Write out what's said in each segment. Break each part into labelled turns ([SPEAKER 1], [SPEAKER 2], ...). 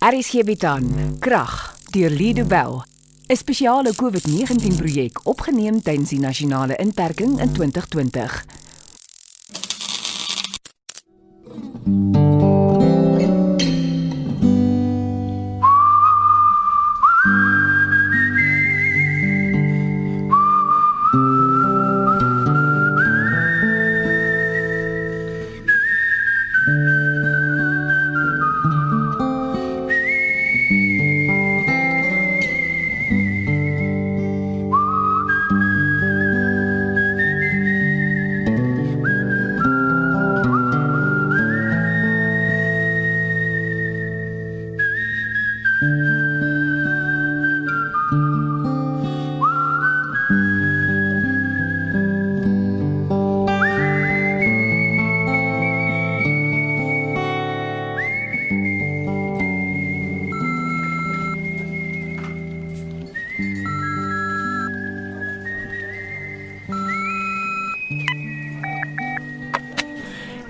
[SPEAKER 1] RSG bied aan Krag deur Lido Bell, 'n spesiale COVID-19 projek opgeneem tydens die nasionale inperking in 2020.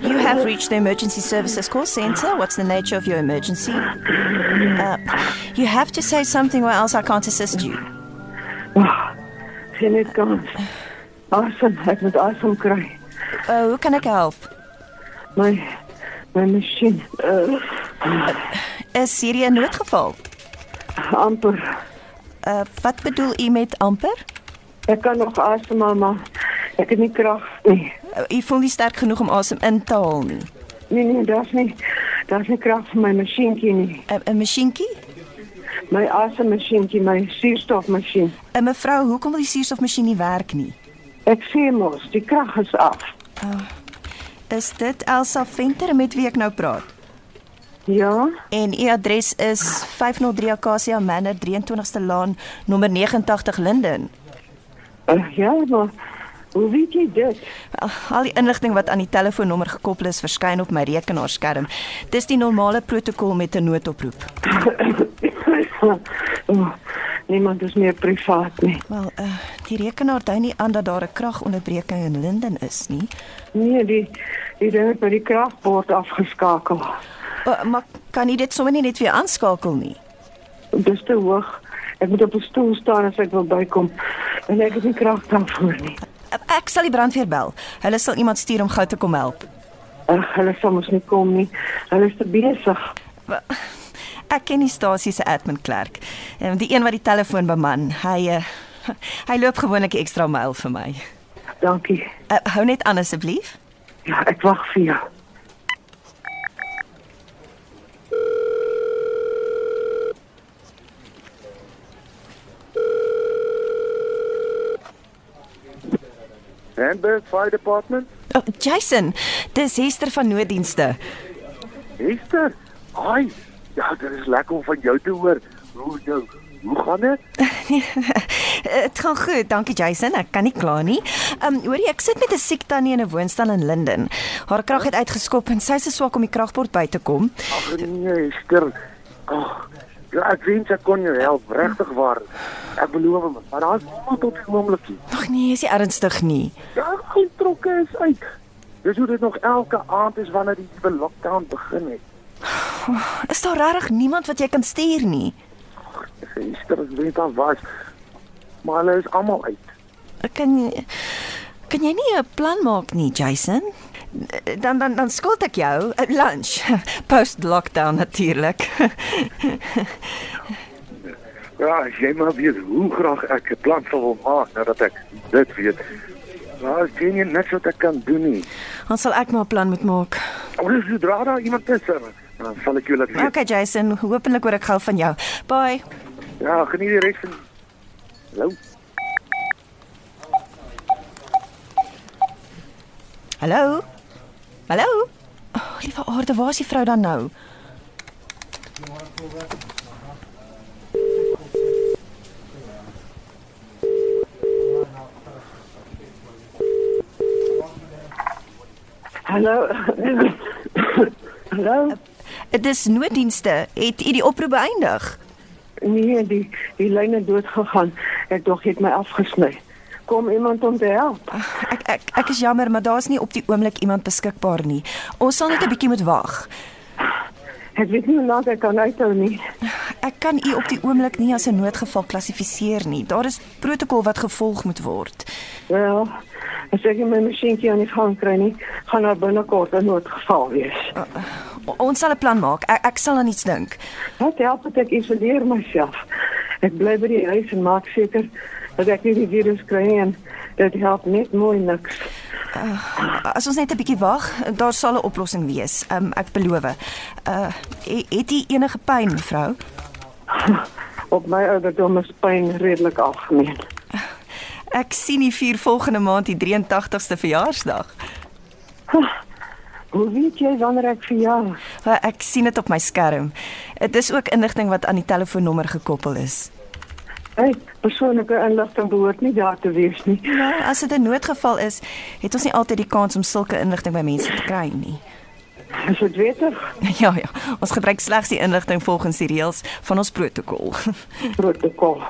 [SPEAKER 2] You have reached the emergency services call center. What's the nature of your emergency? Uh, you have to say something, or else I can't assist you.
[SPEAKER 3] Ah, Geen net kans. Asem, ek moet asem kry.
[SPEAKER 2] Uh, who can I help?
[SPEAKER 3] My my masjien. Uh,
[SPEAKER 2] Is hierdie 'n noodgeval?
[SPEAKER 3] amper.
[SPEAKER 2] Uh, wat bedoel u met amper?
[SPEAKER 3] Ek kan nog asemhaal, maar ek het nie krag nie.
[SPEAKER 2] Uh, u voel nie sterk genoeg om asem in te haal nie.
[SPEAKER 3] Nee nee, daar's nie daar's nie krag vir my masjienkie nie.
[SPEAKER 2] 'n uh, Masjienkie?
[SPEAKER 3] My asemmasjienkie, my suurstofmasjien.
[SPEAKER 2] 'n Uh, Mevrou, hoekom wil die suurstofmasjien nie werk nie?
[SPEAKER 3] Ek sê mos, die krag is af.
[SPEAKER 2] Is dit Elsa Venter met wie ek nou praat?
[SPEAKER 3] Ja,
[SPEAKER 2] En u adres is 503 Acacia Manor 23ste Laan, nommer 89 Linden.
[SPEAKER 3] uh, ja, maar hoe weet jy dit?
[SPEAKER 2] Al die inligting wat aan die telefoonnommer gekoppel is, verskyn op my rekenaarskerm. Dis die normale protokol met 'n noodoproep.
[SPEAKER 3] oh, niemand is meer privaat nie.
[SPEAKER 2] Wel, uh, die rekenaar dui nie aan dat daar 'n kragonderbreking in Linden is nie.
[SPEAKER 3] Nee, die die ding het by die kragbord afgeskakel.
[SPEAKER 2] Uh, maar kan jy dit sommer nie net weer aanskakel nie?
[SPEAKER 3] Dis te hoog. Ek moet op 'n stoel staan as ek wil bykom. En ek het nie krag daarvoor nie.
[SPEAKER 2] Uh, ek sal die brandweer bel. Hulle sal iemand stuur om gou te kom help.
[SPEAKER 3] Ag, hulle sal mos nie kom nie. Hulle is te besig.
[SPEAKER 2] Wel, Ek ken die stasie se admin klerk, Ehm, die een wat die telefoon beman. Hy uh, hy loop gewoonlik 'n ekstra myl vir my.
[SPEAKER 3] Dankie.
[SPEAKER 2] Uh, hou net aan asseblief.
[SPEAKER 3] Ja, ek wag vir jou.
[SPEAKER 4] Hamburg Fire Department.
[SPEAKER 2] Oh, Jason, dis Hester van nooddienste.
[SPEAKER 4] Hester. Ai. Ja, dit is lekker om van jou te hoor. Hoe jou? Hoe gaan dit?
[SPEAKER 2] Dit Nee, gaan goed, dankie Jason. Ek kan nie kla nie. Ehm um, hoor jy, ek sit met 'n siek tannie in 'n woonstel in Linden. Haar krag het uitgeskop en sy is te swak om die kragbord by te kom.
[SPEAKER 4] Ag nee, Hester. Ag. Ja, ek wens ek kon jou help, regtig waar. Ek beloof hom, maar daar's niemand op die oomblik nie.
[SPEAKER 2] Ag nee, is nie ernstig nie.
[SPEAKER 4] Ja, al die trokke is uit. Dis hoe dit nog elke aand is wanneer die nuwe lockdown begin het.
[SPEAKER 2] Is daar regtig niemand wat jy kan stuur nie?
[SPEAKER 4] Hester, ek weet daar was. Maar hulle is almal uit.
[SPEAKER 2] Ek kan kan jy nie 'n plan maak nie, Jason? Dan dan dan skuld ek jou 'n lunch post lockdown natuurlik.
[SPEAKER 4] Ja, as jy maar weet hoe graag ek 'n plan sal wil maak nadat ek dit weet. Daar is geen niks wat ek kan doen nie.
[SPEAKER 2] Dan sal ek maar 'n plan moet maak.
[SPEAKER 4] Ons sodra daar iemand is, eh, dan sal ek jou laat weet.
[SPEAKER 2] Okay Jason, hopelik hoor ek gou van jou. Bye.
[SPEAKER 4] Ja, geniet die res van Hallo.
[SPEAKER 2] Hallo? Hallo? Oh, liewe aarde, waar is die vrou dan nou?
[SPEAKER 3] Hallo. Hallo.
[SPEAKER 2] Dit is nooddienste. Het u die oproep beëindig?
[SPEAKER 3] Nee, die die lyn het dood gegaan. Ek dog jy het my afgesny. Kom iemand om te help.
[SPEAKER 2] Ag, Ah, Ek ek ek is jammer, maar daar's nie op die oomblik iemand beskikbaar nie. Ons sal net 'n bietjie moet wag.
[SPEAKER 3] Ek weet nie hoe lank ek kan uithou nie.
[SPEAKER 2] Ek kan u op die oomblik nie as 'n noodgeval klassifiseer nie. Daar is protokol wat gevolg moet word.
[SPEAKER 3] Wel, as ek nie my masjienkie aan die gang kry nie, gaan daar binnekort 'n noodgeval wees.
[SPEAKER 2] Ah. O, ons sal 'n plan maak. Ek, ek sal aan iets dink.
[SPEAKER 3] Wat help dit ek isoleer myself? Ek bly by die huis en maak seker dat ek nie die virus kry nie en dit help net mooi niks.
[SPEAKER 2] As ons net 'n bietjie wag, daar sal 'n oplossing wees. Um, ek beloof. Uh he- het u enige pyn, mevrou?
[SPEAKER 3] Op my ouderdom is pyn redelik algemeen.
[SPEAKER 2] Ek sien u vier volgende maand die 83ste verjaarsdag.
[SPEAKER 3] Hoe weet jy wanneer ek verjaar?
[SPEAKER 2] Wel, Ek sien dit op my skerm. Dit is ook inligting wat aan die telefoonnommer gekoppel is.
[SPEAKER 3] Hey, persoonlike inligting behoort nie daar te wees nie.
[SPEAKER 2] Nou, as dit 'n noodgeval is, het ons nie altyd die kans om sulke inligting by mense te kry nie.
[SPEAKER 3] Is dit wettig?
[SPEAKER 2] Ja ja, ons gebruik slegs die inligting volgens die reëls van ons protokol.
[SPEAKER 3] protokol.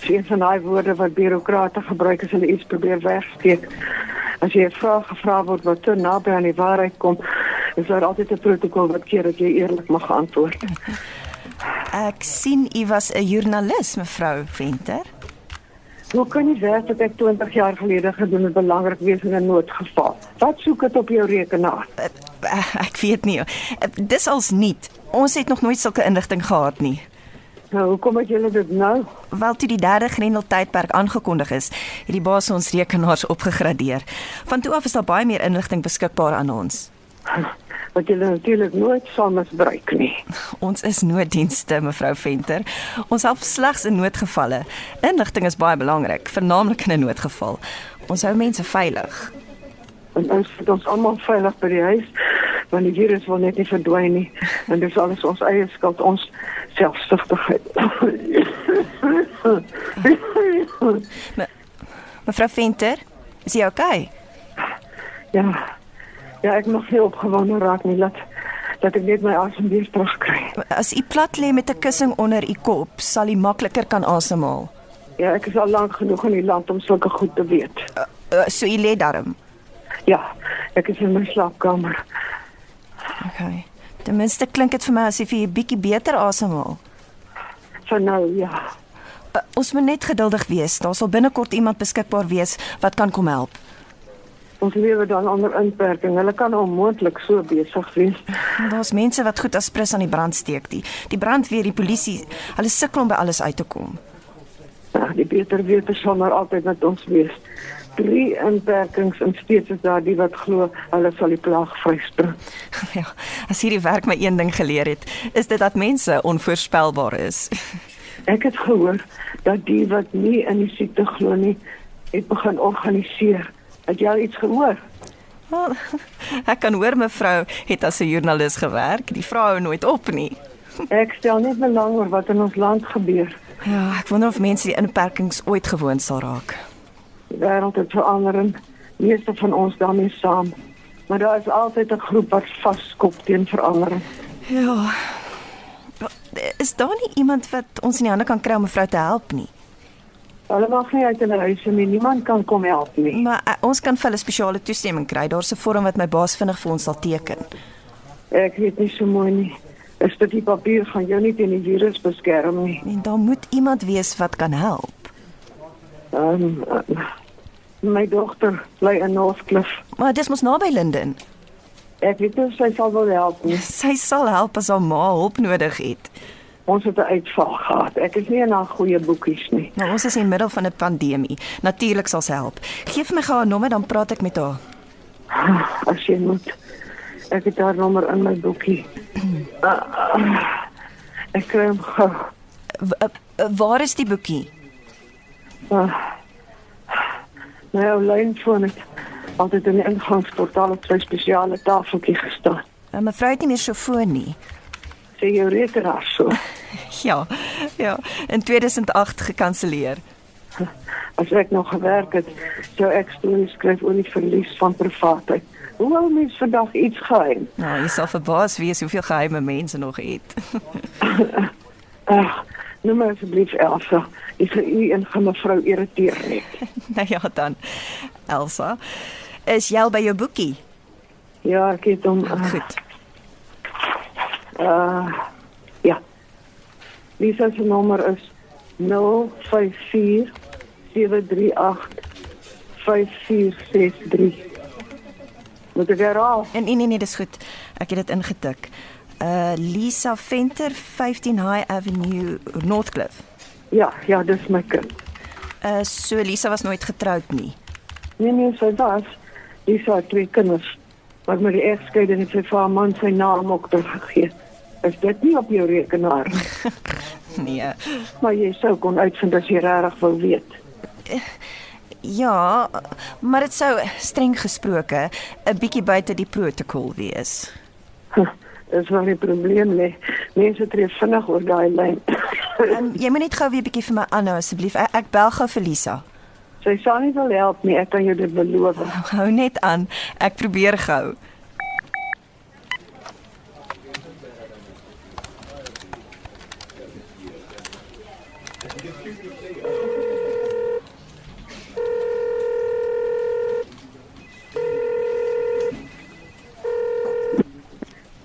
[SPEAKER 3] Dis een van daai woorde wat bureaukrate gebruik as hulle iets probeer wegsteek. As jy 'n vraag gevra word wat te naby aan die waarheid kom, is daar altyd 'n protokol wat keer dat jy eerlik mag antwoord.
[SPEAKER 2] Ek sien u was 'n joernalis, mevrou Venter.
[SPEAKER 3] Hoe kan jy weet dat ek 20 jaar gelede gedoen het belangrik wees in 'n noodgeval? Wat soek dit op jou rekenaar?
[SPEAKER 2] Eh, eh, Ek weet nie. Eh, Dis als nuut. Ons het nog nooit sulke inligting gehad nie.
[SPEAKER 3] Nou, hoekom het julle dit nou?
[SPEAKER 2] Wel toe die derde Grendeltydperk aangekondig is, het die baas ons rekenaars opgegradeer. Van toe af is daar baie meer inligting beskikbaar aan ons.
[SPEAKER 3] Wat julle natuurlik nooit sal misbruik nie.
[SPEAKER 2] Ons is nooddienste, mevrou Venter. Ons help slegs in noodgevalle. Inligting is baie belangrik, veralnik in 'n noodgeval. Ons hou mense veilig.
[SPEAKER 3] En ons moet ons almal veilig by die huis want die virus wil net nie verdwyn nie en dis alles ons eie skuld ons selfsugtigheid.
[SPEAKER 2] Mevrou Venter, is jy okay?
[SPEAKER 3] ja. Ja, ek mag nie opgewonde raak nie dat dat ek net my asem weer terugkry.
[SPEAKER 2] As u plat lê met 'n kussing onder u kop, sal u makliker kan asemhaal.
[SPEAKER 3] Ja, ek is al lank genoeg in die land om sulke goed te weet.
[SPEAKER 2] Uh, uh, so u lê darm.
[SPEAKER 3] Ja, ek is in my slaapkamer.
[SPEAKER 2] Okay. Ten minste klink dit vir my asof jy 'n bietjie beter asemhaal.
[SPEAKER 3] Van nou, ja.
[SPEAKER 2] Uh, ons moet net geduldig wees. Daar sal binnekort iemand beskikbaar wees wat kan kom help.
[SPEAKER 3] Ons lewe dan onder inperking. Hulle kan onmoontlik so besig wees.
[SPEAKER 2] Daar's mense wat goed as prins aan die brand steek. Die, die brandweer, die polisie, hulle sukkel om by alles uit te kom.
[SPEAKER 3] Ja, die beter wete sal maar altyd met ons wees. Drie inperkings en steeds is daar die wat glo hulle sal die plaag vryspring.
[SPEAKER 2] ja, as hierdie werk my een ding geleer het, is dit dat mense onvoorspelbaar is.
[SPEAKER 3] Ek het gehoor dat die wat nie in die siekte glo nie, het begin organiseer. Het jy al iets gehoor?
[SPEAKER 2] Wel, ek kan hoor mevrou het as 'n joernalis gewerk. Die vrou hou nooit op nie.
[SPEAKER 3] Ek stel net belang oor wat in ons land gebeur.
[SPEAKER 2] Ja, ek wonder of mense die inperkings ooit gewoond sal raak.
[SPEAKER 3] Die wêreld het verander en meeste van ons daarmee saam. Maar daar is altyd 'n groep wat vaskop teen verandering.
[SPEAKER 2] Ja. Is daar nie iemand wat ons in die hande kan kry om mevrou te help nie?
[SPEAKER 3] Hulle mag nie uit hulle huise nie. Niemand kan kom help nie.
[SPEAKER 2] Maar uh, ons kan vir hulle spesiale toestemming kry. Daar's 'n vorm wat my baas vinnig vir ons sal teken.
[SPEAKER 3] Ek weet nie so mooi nie. Is dit die papier gaan jou nie teen die virus beskerm nie.
[SPEAKER 2] En daar moet iemand wees wat kan help.
[SPEAKER 3] Ehm um, my dogter bly in Northcliff.
[SPEAKER 2] Maar dis mos naby Linden.
[SPEAKER 3] Ek weet nie of sy sal wil help nie.
[SPEAKER 2] Sy sal help as haar ma hulp nodig het.
[SPEAKER 3] Ons het 'n uitval gehad. Ek is nie in haar goeie boekies nie.
[SPEAKER 2] Nou ons is in die middel van 'n pandemie. Natuurlik sal sy help. Geef my gou haar nommer dan praat ek met haar.
[SPEAKER 3] As jy moet. Ek het haar nommer in my boekie. Ah, Ek kry hom gou.
[SPEAKER 2] W uh, uh, waar is die boekie?
[SPEAKER 3] My ou lynfoon het altyd in die ingangsportaal op sy spesiale tafeltjie gestaan.
[SPEAKER 2] Uh, mevrou het nie meer so voor nie.
[SPEAKER 3] Sy jou rekenaar so.
[SPEAKER 2] Ja. Ja, in 2008 gekanselleer.
[SPEAKER 3] As ek nog gewerk het, sou ek stories skryf oor die verlies van privaatheid. Hoe wou mens vandag iets geheim?
[SPEAKER 2] Nou, jy sal verbaas wees hoeveel geheime mense nog het.
[SPEAKER 3] Ag, noem my asseblief Elsa. Ek vir u en gaan mevrou irriteer net.
[SPEAKER 2] nou ja dan. Elsa, is jy al by jou boekie?
[SPEAKER 3] eh, Ja, ek het hom. Uh,
[SPEAKER 2] Goed.
[SPEAKER 3] Uh ja. Lisa se nommer is 054 738 5463. Moet ek herhaal?
[SPEAKER 2] En nee nee nee, dis goed. Ek het dit ingetik. Uh Lisa Venter 15 High Avenue Northcliff.
[SPEAKER 3] Ja, ja, dis my kind.
[SPEAKER 2] Uh so Lisa was nooit getroud nie.
[SPEAKER 3] Nee nee, sy was. Lisa het twee kinders. Maar met die egskeiding het sy vir haar man sy naam ook teruggegee. Is dit nie op jou rekenaar? nie?
[SPEAKER 2] Nee.
[SPEAKER 3] Maar jy sou kon uitvind as jy regtig wou weet.
[SPEAKER 2] Ja, maar dit sou streng gesproke 'n bietjie buite die protokol wees.
[SPEAKER 3] Dis waar die probleem lê. Mense tree vinnig oor daai lyn.
[SPEAKER 2] Um, jy moet net gou weer bietjie vir my aanhou asseblief. Ek, ek bel gou vir Lisa.
[SPEAKER 3] sy sal nie wil help nie, ek kan jou dit beloof. Uh,
[SPEAKER 2] Hou net aan. Ek probeer gou.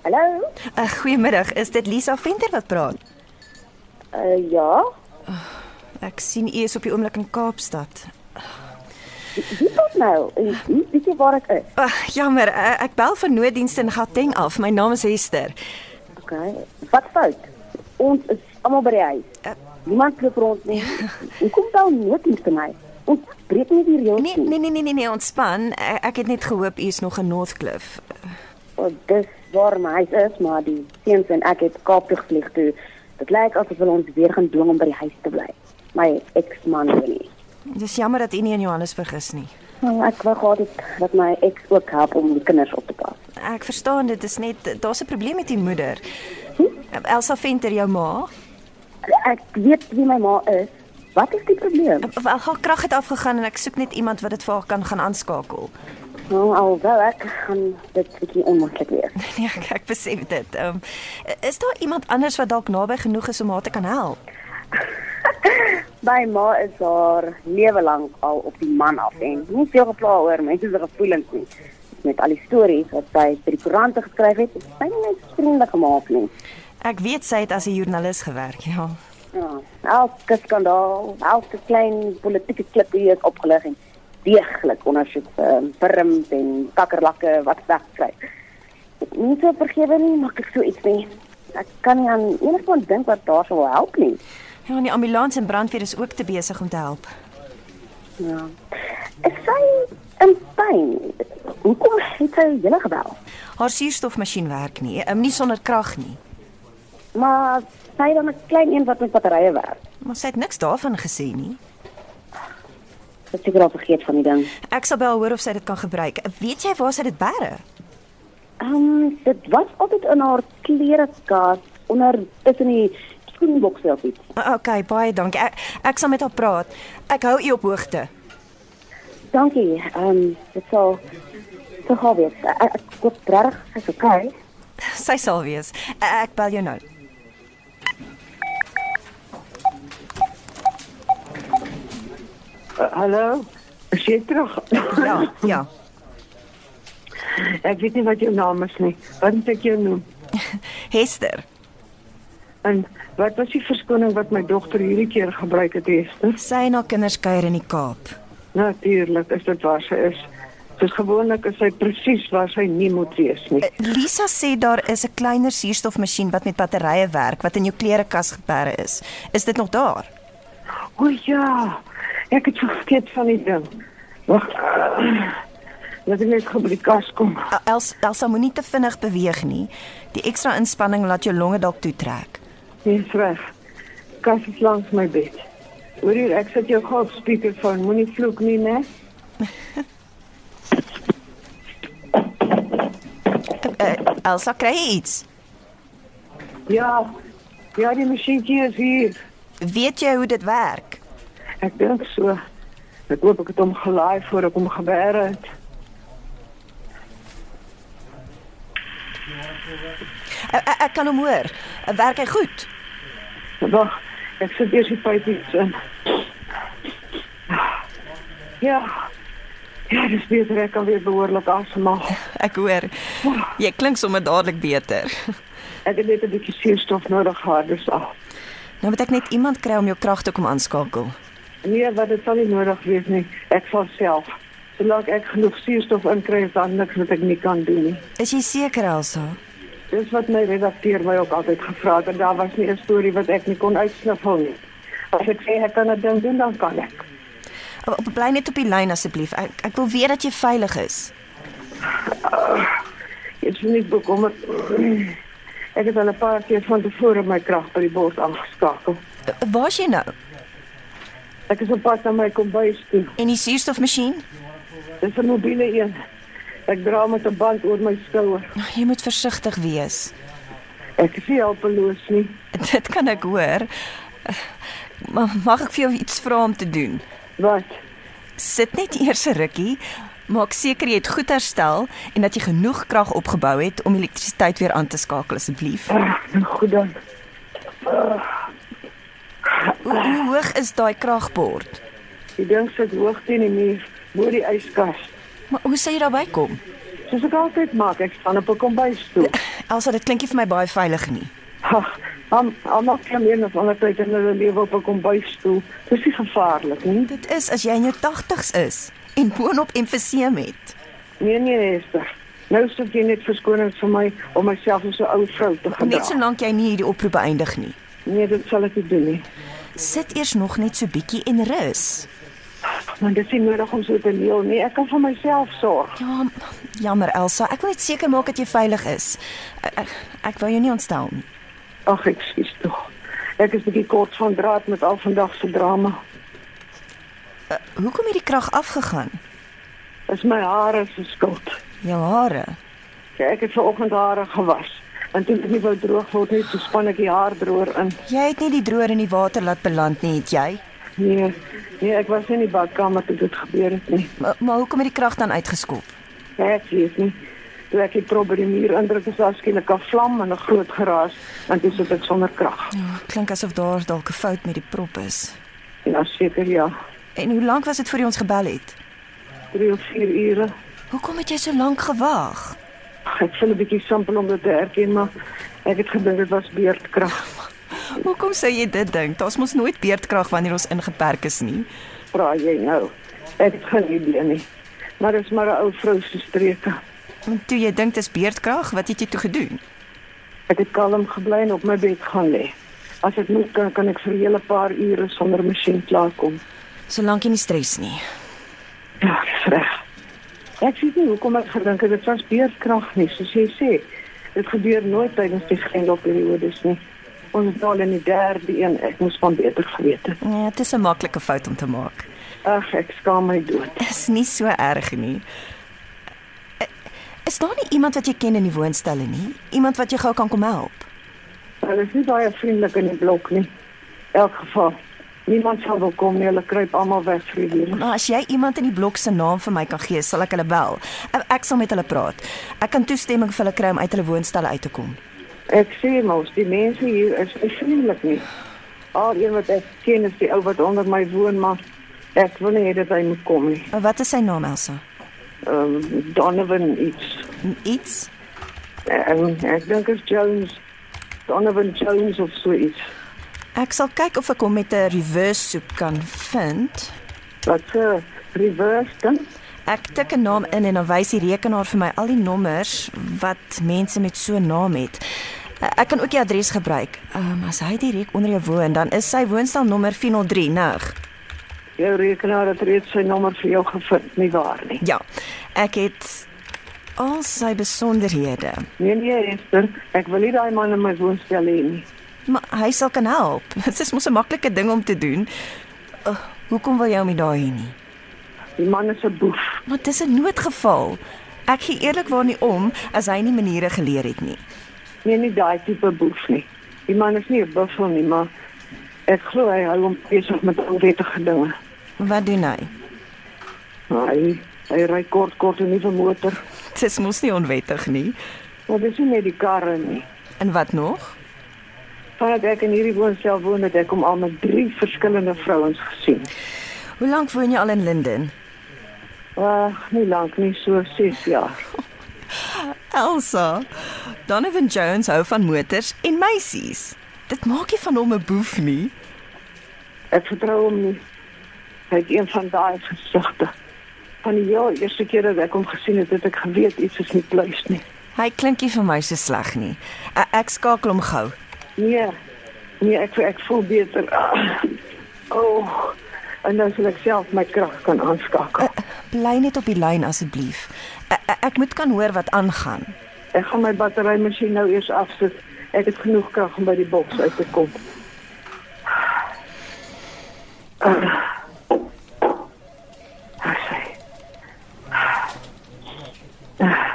[SPEAKER 5] Hallo?
[SPEAKER 2] Uh, goeiemiddag. Is dit Lisa Venter wat praat?
[SPEAKER 5] Uh, ja.
[SPEAKER 2] Ek sien u is op die oomblik in Kaapstad.
[SPEAKER 5] Wie kom nou? En wie weet jy waar ek is?
[SPEAKER 2] Uh, jammer, uh, ek bel van nooddienste in Gauteng af. My naam is Hester.
[SPEAKER 5] OK. Wat fout? Ons is almal by die huis.
[SPEAKER 2] Uh,
[SPEAKER 5] Niemand loop rond nie.
[SPEAKER 2] Ja.
[SPEAKER 5] Hoe kom nou nooddiens te my? Ons breek nie die reëls
[SPEAKER 2] Nee, nee, nee, nee, nee, nee, ontspan. Uh, ek het net gehoop u is nog in Northcliff.
[SPEAKER 5] Oh, dis waar my huis is, maar die seuns en ek het Kaap toe gevlieg toe. Dit lyk asof hulle ons weer gaan dwing om by die huis te bly. My eksman wil nie.
[SPEAKER 2] Dis jammer dat u nie in Johannesburg is nie.
[SPEAKER 5] Oh, ek wou gehad het dat my eks ook help om die kinders op te pas.
[SPEAKER 2] Ek verstaan dit is net daar's 'n probleem met u moeder. Uh, Elsa Venter, jou ma?
[SPEAKER 5] Ek weet wie my ma is. Wat is die probleem?
[SPEAKER 2] Uh, Wel, haar krag het afgegaan en ek soek net iemand wat dit vir haar kan gaan aanskakel.
[SPEAKER 5] Nou, alhoewel ek gaan dit bietjie onmoontlik wees.
[SPEAKER 2] Nee, ek, ek besef dit. Ehm um, is daar iemand anders wat dalk naby genoeg is om haar te kan help?
[SPEAKER 5] My ma is haar lewe lank al op die man af en nie veel gepla oor mense se gevoelens nie. Met al die stories wat sy vir die koerante geskryf het, het sy nie net vriende gemaak nie.
[SPEAKER 2] Ek weet sy het as 'n joernalis gewerk, ja.
[SPEAKER 5] Ja, elke skandaal, elke klein politieke klippie is opgelig en deeglik ondersoek vir perms en kakkerlakke wat wegkry. Nie so vergewe nie, maar ek so iets nie. Ek kan nie aan enigiemand dink wat daar sou help nie.
[SPEAKER 2] Ja, en die ambulans en brandweer is ook te besig om te help.
[SPEAKER 5] Ja. Is sy in pyn? Hoekom het sy julle gebel?
[SPEAKER 2] Haar suurstofmasjien werk nie, um, nie sonder krag nie.
[SPEAKER 5] Maar sy dan 'n klein een wat met batterye werk.
[SPEAKER 2] Maar sy het niks daarvan gesê nie.
[SPEAKER 5] Sy het seker al vergeet van die ding.
[SPEAKER 2] Ek sal bel hoor of sy dit kan gebruik. Weet jy waar sy dit bære?
[SPEAKER 5] Ehm um, dit was altyd in haar klerekas onder tussen die skoenbokse of iets.
[SPEAKER 2] Ah, Okay, baie dankie. Ek, ek sal met haar praat. Ek hou u op hoogte.
[SPEAKER 5] Dankie. Ehm um, dit sal so gou wees. Ek, ek koop reg, sy's okay.
[SPEAKER 2] Sy sal wees. Ek bel jou nou.
[SPEAKER 3] Uh, hallo. Is jy terug?
[SPEAKER 2] Ja, ja.
[SPEAKER 3] ek weet nie wat jou naam is nie. Wat moet ek jou noem?
[SPEAKER 2] Hester,
[SPEAKER 3] En wat was die verskoning wat my dogter hierdie keer gebruik het, Esther?
[SPEAKER 2] sy en haar kinders kuier in die Kaap.
[SPEAKER 3] Natuurlik is dit waar sy is. Soos gewoonlik is sy presies waar sy nie moet wees nie.
[SPEAKER 2] Eh, Lisa sê daar is 'n kleiner suurstofmasjien wat met batterye werk wat in jou klerekas geberre is. Is dit nog daar?
[SPEAKER 3] O ja, ek het vergeet van die ding. Wag. Laat ek net gou by die kas kom.
[SPEAKER 2] Eh, Els Elsa moenie te vinnig beweeg nie. Die ekstra inspanning laat jou longe dalk toetrek.
[SPEAKER 3] Dis reg. Kas is langs my bed. Hoor hier, ek sit jou gou op speakerfoon. Moenie vloek nie, né?
[SPEAKER 2] Eh, Elsa kry jy iets.
[SPEAKER 3] Ja. Ja, die masjienkie is hier.
[SPEAKER 2] Weet jy hoe dit werk?
[SPEAKER 3] Ek dink so. Ek hoop ek het hom gelaai voor ek hom gebeer het.
[SPEAKER 2] Eh, eh, Ek kan hom hoor. Eh, Werk hy goed?
[SPEAKER 3] Wag, ek sit eers die pypies in. Ja. Ja, dis beter ek kan weer behoorlik asemhaal.
[SPEAKER 2] Ek hoor. Jy klink sommer dadelik beter.
[SPEAKER 3] Ek het net 'n bietjie suurstof nodig gehad, dis al.
[SPEAKER 2] Nou moet ek net iemand kry om jou krag te kom aanskakel.
[SPEAKER 3] Nee, wat dit sal nie nodig wees nie. Ek sal self. Solank ek genoeg suurstof inkry, is daar niks wat ek nie kan doen nie.
[SPEAKER 2] Is jy seker, Elsa?
[SPEAKER 3] Dis wat my redakteur my ook altyd gevra het en daar was nie 'n storie wat ek nie kon uitsniffel nie. As ek sê ek kan 'n ding doen, dan kan ek.
[SPEAKER 2] O- o- Bly net op die lyn asseblief. Ek ek wil weet dat jy veilig is.
[SPEAKER 3] Ek sien nie bekommerd. Ek het al 'n paar keer van tevore my krag by die bors aangeskakel.
[SPEAKER 2] O- Waar's jy nou?
[SPEAKER 3] Ek is op pad na my kombuis toe.
[SPEAKER 2] En die suurstofmasjien?
[SPEAKER 3] Dis 'n mobiele een. Ek dra hom met 'n band oor my skouer.
[SPEAKER 2] Ag, Nou, Jy moet versigtig wees.
[SPEAKER 3] Ek is nie helpeloos nie.
[SPEAKER 2] Dit kan ek hoor. Maar mag ek vir jou iets vra om te doen?
[SPEAKER 3] Wat?
[SPEAKER 2] Sit net eers 'n rukkie. Maak seker jy het goed herstel en dat jy genoeg krag opgebou het om elektrisiteit weer aan te skakel asseblief.
[SPEAKER 3] Ah, nou goed dan.
[SPEAKER 2] Hoe, hoe hoog is daai kragbord?
[SPEAKER 3] Die ding sit hoog teen die muur, bo die yskas.
[SPEAKER 2] Maar hoe sal jy daarby kom?
[SPEAKER 3] Soos ek altyd maak, ek staan op 'n kombuis toe.
[SPEAKER 2] Elsa, dit klink nie vir my baie veilig nie.
[SPEAKER 3] Ag, hom almal klim een of ander tyd in hulle lewe op 'n kombuis toe. Dis nie gevaarlik nie.
[SPEAKER 2] Dit is as jy in jou 80's is en boonop emfyseem het.
[SPEAKER 3] Nee nee, nee, Esther. Nou soek jy net verskonings vir my om myself as 'n ou vrou te gedra.
[SPEAKER 2] Net solank jy nie hierdie oproep beëindig nie.
[SPEAKER 3] Nee, dit sal ek nie doen nie.
[SPEAKER 2] Sit eers nog net so bietjie en rus.
[SPEAKER 3] Maar dit is nie nodig om so te leel nie. Ek kan vir myself sorg.
[SPEAKER 2] Ja, m- jammer Elsa, ek wil net seker maak dat jy veilig is. Ek, ek, ek wou jou nie ontstel nie.
[SPEAKER 3] Ag, ekskuus tog. Ek is bietjie kort van draad met al vandag se drama.
[SPEAKER 2] Uh, hoekom het die krag afgegaan?
[SPEAKER 3] Is my hare se skuld.
[SPEAKER 2] Jou hare.
[SPEAKER 3] Ja, ek het vanoggend hare gewas. En toe ek nie wou droog word nie, so span ek die haardroër in.
[SPEAKER 2] Jy het nie die droër in die water laat beland nie, het jy?
[SPEAKER 3] Nee, nee, ek was nie in die badkamer toe dit gebeur het nie.
[SPEAKER 2] Maar, maar hoekom het die krag dan uitgeskop?
[SPEAKER 3] Ek weet nie. Toe ek die prop by die muur indruk, is daar skielik 'n vlam en 'n groot geraas en toe sit ek sonder krag.
[SPEAKER 2] Ja, klink asof daar dalk 'n fout met die prop is.
[SPEAKER 3] Ja, seker ja.
[SPEAKER 2] En hoe lank was dit voor jy ons gebel het?
[SPEAKER 3] 3 of 4 ure.
[SPEAKER 2] Hoekom het jy so lank gewag?
[SPEAKER 3] Ag, Ek voel 'n bietjie simpel om dit te erken, maar ek het gedink dit was beurtkrag.
[SPEAKER 2] Hoekom sou jy dit dink? Daar's mos nooit beerdkrag wanneer ons ingeperk is nie.
[SPEAKER 3] vra jy nou? Ek het geen idee nie. Maar dis maar 'n ou vrou se streke.
[SPEAKER 2] En toe jy dink dis beerdkrag, wat het jy toe gedoen?
[SPEAKER 3] Ek het kalm gebly en op my bed gaan lê. As ek moet kan, kan ek vir 'n hele paar ure sonder masjien klaarkom.
[SPEAKER 2] Solank jy nie stres nie.
[SPEAKER 3] Ja, dis reg. Ek weet nie hoekom ek gedink het dit was beerkrag nie, soos jy sê. Dit gebeur nooit tydens die grendelperiodes nie. Ons is al in die derde een. Ek moes van beter geweet het.
[SPEAKER 2] Ja, dit is 'n maklike fout om te maak.
[SPEAKER 3] Ag, ek skaam my dood.
[SPEAKER 2] Dis nie so erg nie. Eh, Is daar nie iemand wat jy ken in die woonstelle nie? Iemand wat jou gou kan kom help?
[SPEAKER 3] Hulle is nie baie vriendelik in die blok nie. In elk geval, niemand sal wil kom nie. Hulle kruip almal weg vir die deur.
[SPEAKER 2] Maar as jy iemand in die blok se naam vir my kan gee, sal ek hulle bel. Ek- Ek sal met hulle praat. Ek kan toestemming vir hulle kry om uit hulle woonstelle uit te kom.
[SPEAKER 3] Ek sê mos, die mense hier is nie vriendelik nie. Al een wat ek ken is die ou wat onder my woon, maar ek wil nie hê dat hy moet kom nie.
[SPEAKER 2] Maar Wat is sy naam, Elsa?
[SPEAKER 3] Ehm Donovan iets.
[SPEAKER 2] Iets?
[SPEAKER 3] Um, ek dink is Jones. Donovan Jones of so iets.
[SPEAKER 2] Ek sal kyk of ek hom met 'n reverse soek kan vind.
[SPEAKER 3] Wat se reverse dan?
[SPEAKER 2] Ek tik 'n naam in en dan wys die rekenaar vir my al die nommers wat mense met so 'n naam het. E- Ek kan ook die adres gebruik. Um, as hy direk onder jou woon, dan is sy woonstelnommer 403 Nug.
[SPEAKER 3] Jou rekenaar het reeds sy nommer vir jou gevind, nie waar nie?
[SPEAKER 2] Ja. Ek het al sy besonderhede.
[SPEAKER 3] Nee nee, Esther, ek wil nie daai man in my woonstel hê nie.
[SPEAKER 2] Maar hy sal kan help. Dit is mos 'n maklike ding om te doen. Uh, hoekom wil jy hom nie daai hê nie?
[SPEAKER 3] Die man is 'n boef.
[SPEAKER 2] Maar dis 'n noodgeval. Ek gee eerlikwaar nie om as hy nie maniere geleer het nie.
[SPEAKER 3] Nee, nie daai tipe boef nie. Die man is nie 'n buffel nie, maar ek glo hy hou hom besig met onwettige dinge.
[SPEAKER 2] Wat doen hy?
[SPEAKER 3] Hy hy ry kort kort in 'n motor.
[SPEAKER 2] Dis mos nie onwettig nie.
[SPEAKER 3] Maar dis nie net die karre nie.
[SPEAKER 2] En wat nog?
[SPEAKER 3] Vandat ek in hierdie woonstel woon, het ek hom al met drie verskillende vrouens gesien.
[SPEAKER 2] Hoe lank woon jy al in Linden?
[SPEAKER 3] Ah, Ag, nie lank nie, so 6 jaar.
[SPEAKER 2] Elsa, Donovan Jones hou van motors en meisies. Dit maak nie van hom 'n boef nie.
[SPEAKER 3] Ek vertrou hom nie. Hy het een van daai gesigte. Van die heel eerste keer dat ek hom gesien het, het ek geweet iets is nie pluis nie.
[SPEAKER 2] Hy klink nie vir my so sleg nie. E- Ek skakel hom gou.
[SPEAKER 3] Nee. Nee, ek ek voel beter. Ah. O. Oh, en dan sal ek self my krag kan aanskakel.
[SPEAKER 2] Bly net op die lyn asseblief. E- e- Ek moet kan hoor wat aangaan.
[SPEAKER 3] Ek gaan my batterymasjien nou eers afsit. Ek het genoeg krag om by die boks uit te kom. Ah. Ah, sy. Ah.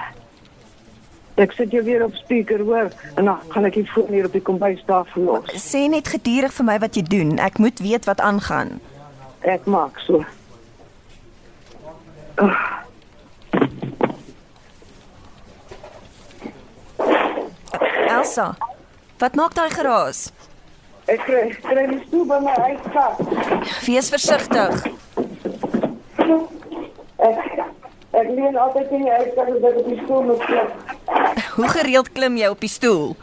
[SPEAKER 3] Ek sit jou weer op speaker hoor en dan gaan ek die foon hier op die kombuistafel los.
[SPEAKER 2] Sê net gedurig vir my wat jy doen. Ek moet weet wat aangaan.
[SPEAKER 3] Ek maak so.
[SPEAKER 2] Elsa, wat maak daai geraas?
[SPEAKER 3] Ek kry kry die stoel by my uitkap.
[SPEAKER 2] Wees versigtig.
[SPEAKER 3] Ek ek leen altyd in die uitkap dat ek die stoel moet klop.
[SPEAKER 2] Hoe gereeld klim jy op die stoel?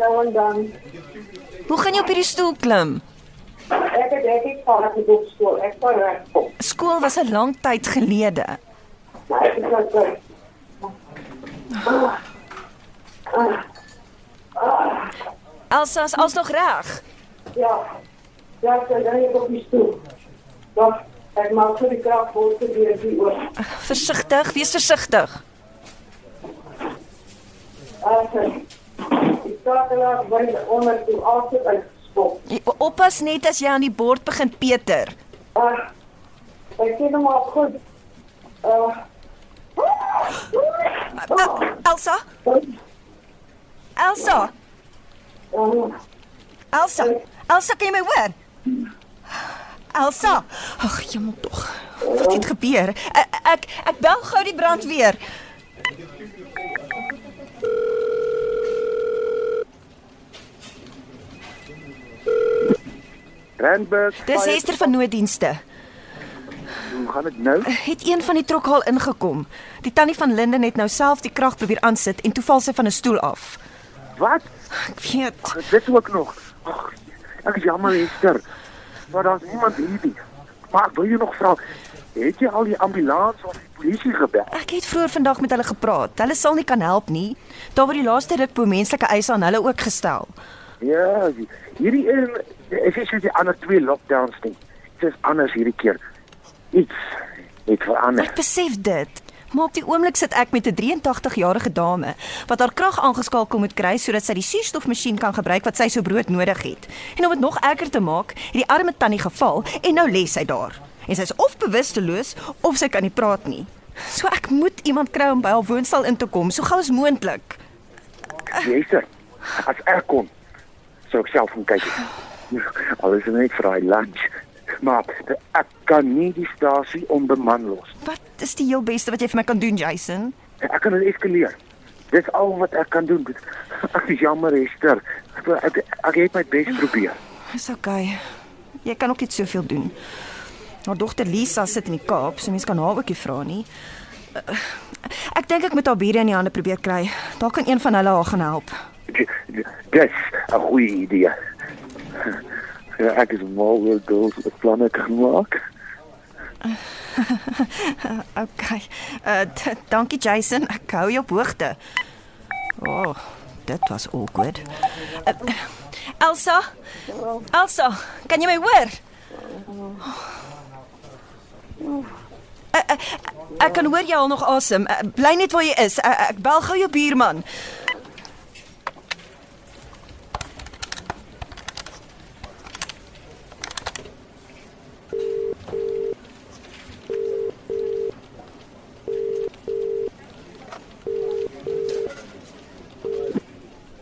[SPEAKER 3] Nou en dan.
[SPEAKER 2] Hoe gaan jy op hierdie stoel klim?
[SPEAKER 3] Ek het ek het van die boekskool. Ek kan regkom.
[SPEAKER 2] Skool was 'n lang tyd gelede.
[SPEAKER 3] Maar ek kan kyk.
[SPEAKER 2] Elsa, is alles nog reg?
[SPEAKER 3] Ja. Ja, ek dan ek op die stoel. Wag, ek maak vir die krag vol te weer die oor.
[SPEAKER 2] Versigtig, wees versigtig.
[SPEAKER 3] As ek Ah, skakelaar by die onder toe altyd uitgespop.
[SPEAKER 2] Jy- Oppas net as jy aan die bord begin Peter.
[SPEAKER 3] Ag. Ek sien hom al nou goed. Uh,
[SPEAKER 2] El- Elsa, Elsa,
[SPEAKER 3] um,
[SPEAKER 2] Elsa. Elsa, kan jy my hoor? Elsa. Ag, jemmel tog. Wat het gebeur? Ek ek, ek bel gou die brandweer.
[SPEAKER 4] Randburg.
[SPEAKER 2] Dis
[SPEAKER 4] fire-
[SPEAKER 2] Hester van nooddienste.
[SPEAKER 4] Hoe gaan dit nou?
[SPEAKER 2] Het een van die trokhaal ingekom. Die tannie van Linden het nou self die krag probeer aansit en toe val sy van 'n stoel af.
[SPEAKER 4] Wat?
[SPEAKER 2] Ek weet.
[SPEAKER 4] Dit ook nog. Ag, ek is jammer Esther. Maar daar's niemand hier nie. Maar ek wil jy nog vra, het jy al die ambulans of die polisie gebel?
[SPEAKER 2] Ek het vroeër vandag met hulle gepraat. Hulle sal nie kan help nie. Daar word die laaste ruk bo menslike eise aan hulle ook gestel.
[SPEAKER 4] Ja, die- hierdie een is nie soos die ander twee lockdowns nie. Dit is anders hierdie keer. Iets het verander.
[SPEAKER 2] Ek besef dit. Maar op die oomblik sit ek met 'n 83-jarige dame wat haar krag aangeskakel moet kry sodat sy die suurstofmasjien kan gebruik wat sy so brood nodig het. En om dit nog erger te maak, het die arme tannie geval en nou lê sy daar. En sy is of bewusteloos of sy kan nie praat nie. So ek moet iemand kry om by haar woonstel in te kom so gou as moontlik.
[SPEAKER 4] Esther, as ek kon, sou ek self gaan kyk. Alles is net vir hy lunch. Maar ek kan nie die stasie onbeman los.
[SPEAKER 2] Wat is die heel beste wat jy vir my kan doen, Jason?
[SPEAKER 4] Ek kan dit eskaleer. Dis al wat ek kan doen. Ek is jammer Esther. Ek ek, ek het my bes probeer.
[SPEAKER 2] Dis okay. Jy kan ook net soveel doen. Haar dogter Lisa sit in die Kaap, so mense kan haar ookie vra nie. Eh, Ek dink ek moet haar bure in die hande probeer kry. Daar kan een van hulle haar gaan help.
[SPEAKER 4] D- d- Dis 'n goeie idee. Ja, ek is mal oor girls wat planne kan maak.
[SPEAKER 2] Okay. Uh d- dankie Jason, ek hou jou op hoogte. O, oh, dit was awkward. Uh, Elsa? Elsa, kan jy my hoor? Uh, uh, ek kan hoor jy al nog asem. Uh, bly net waar jy is. Uh, ek bel gou jou buurman.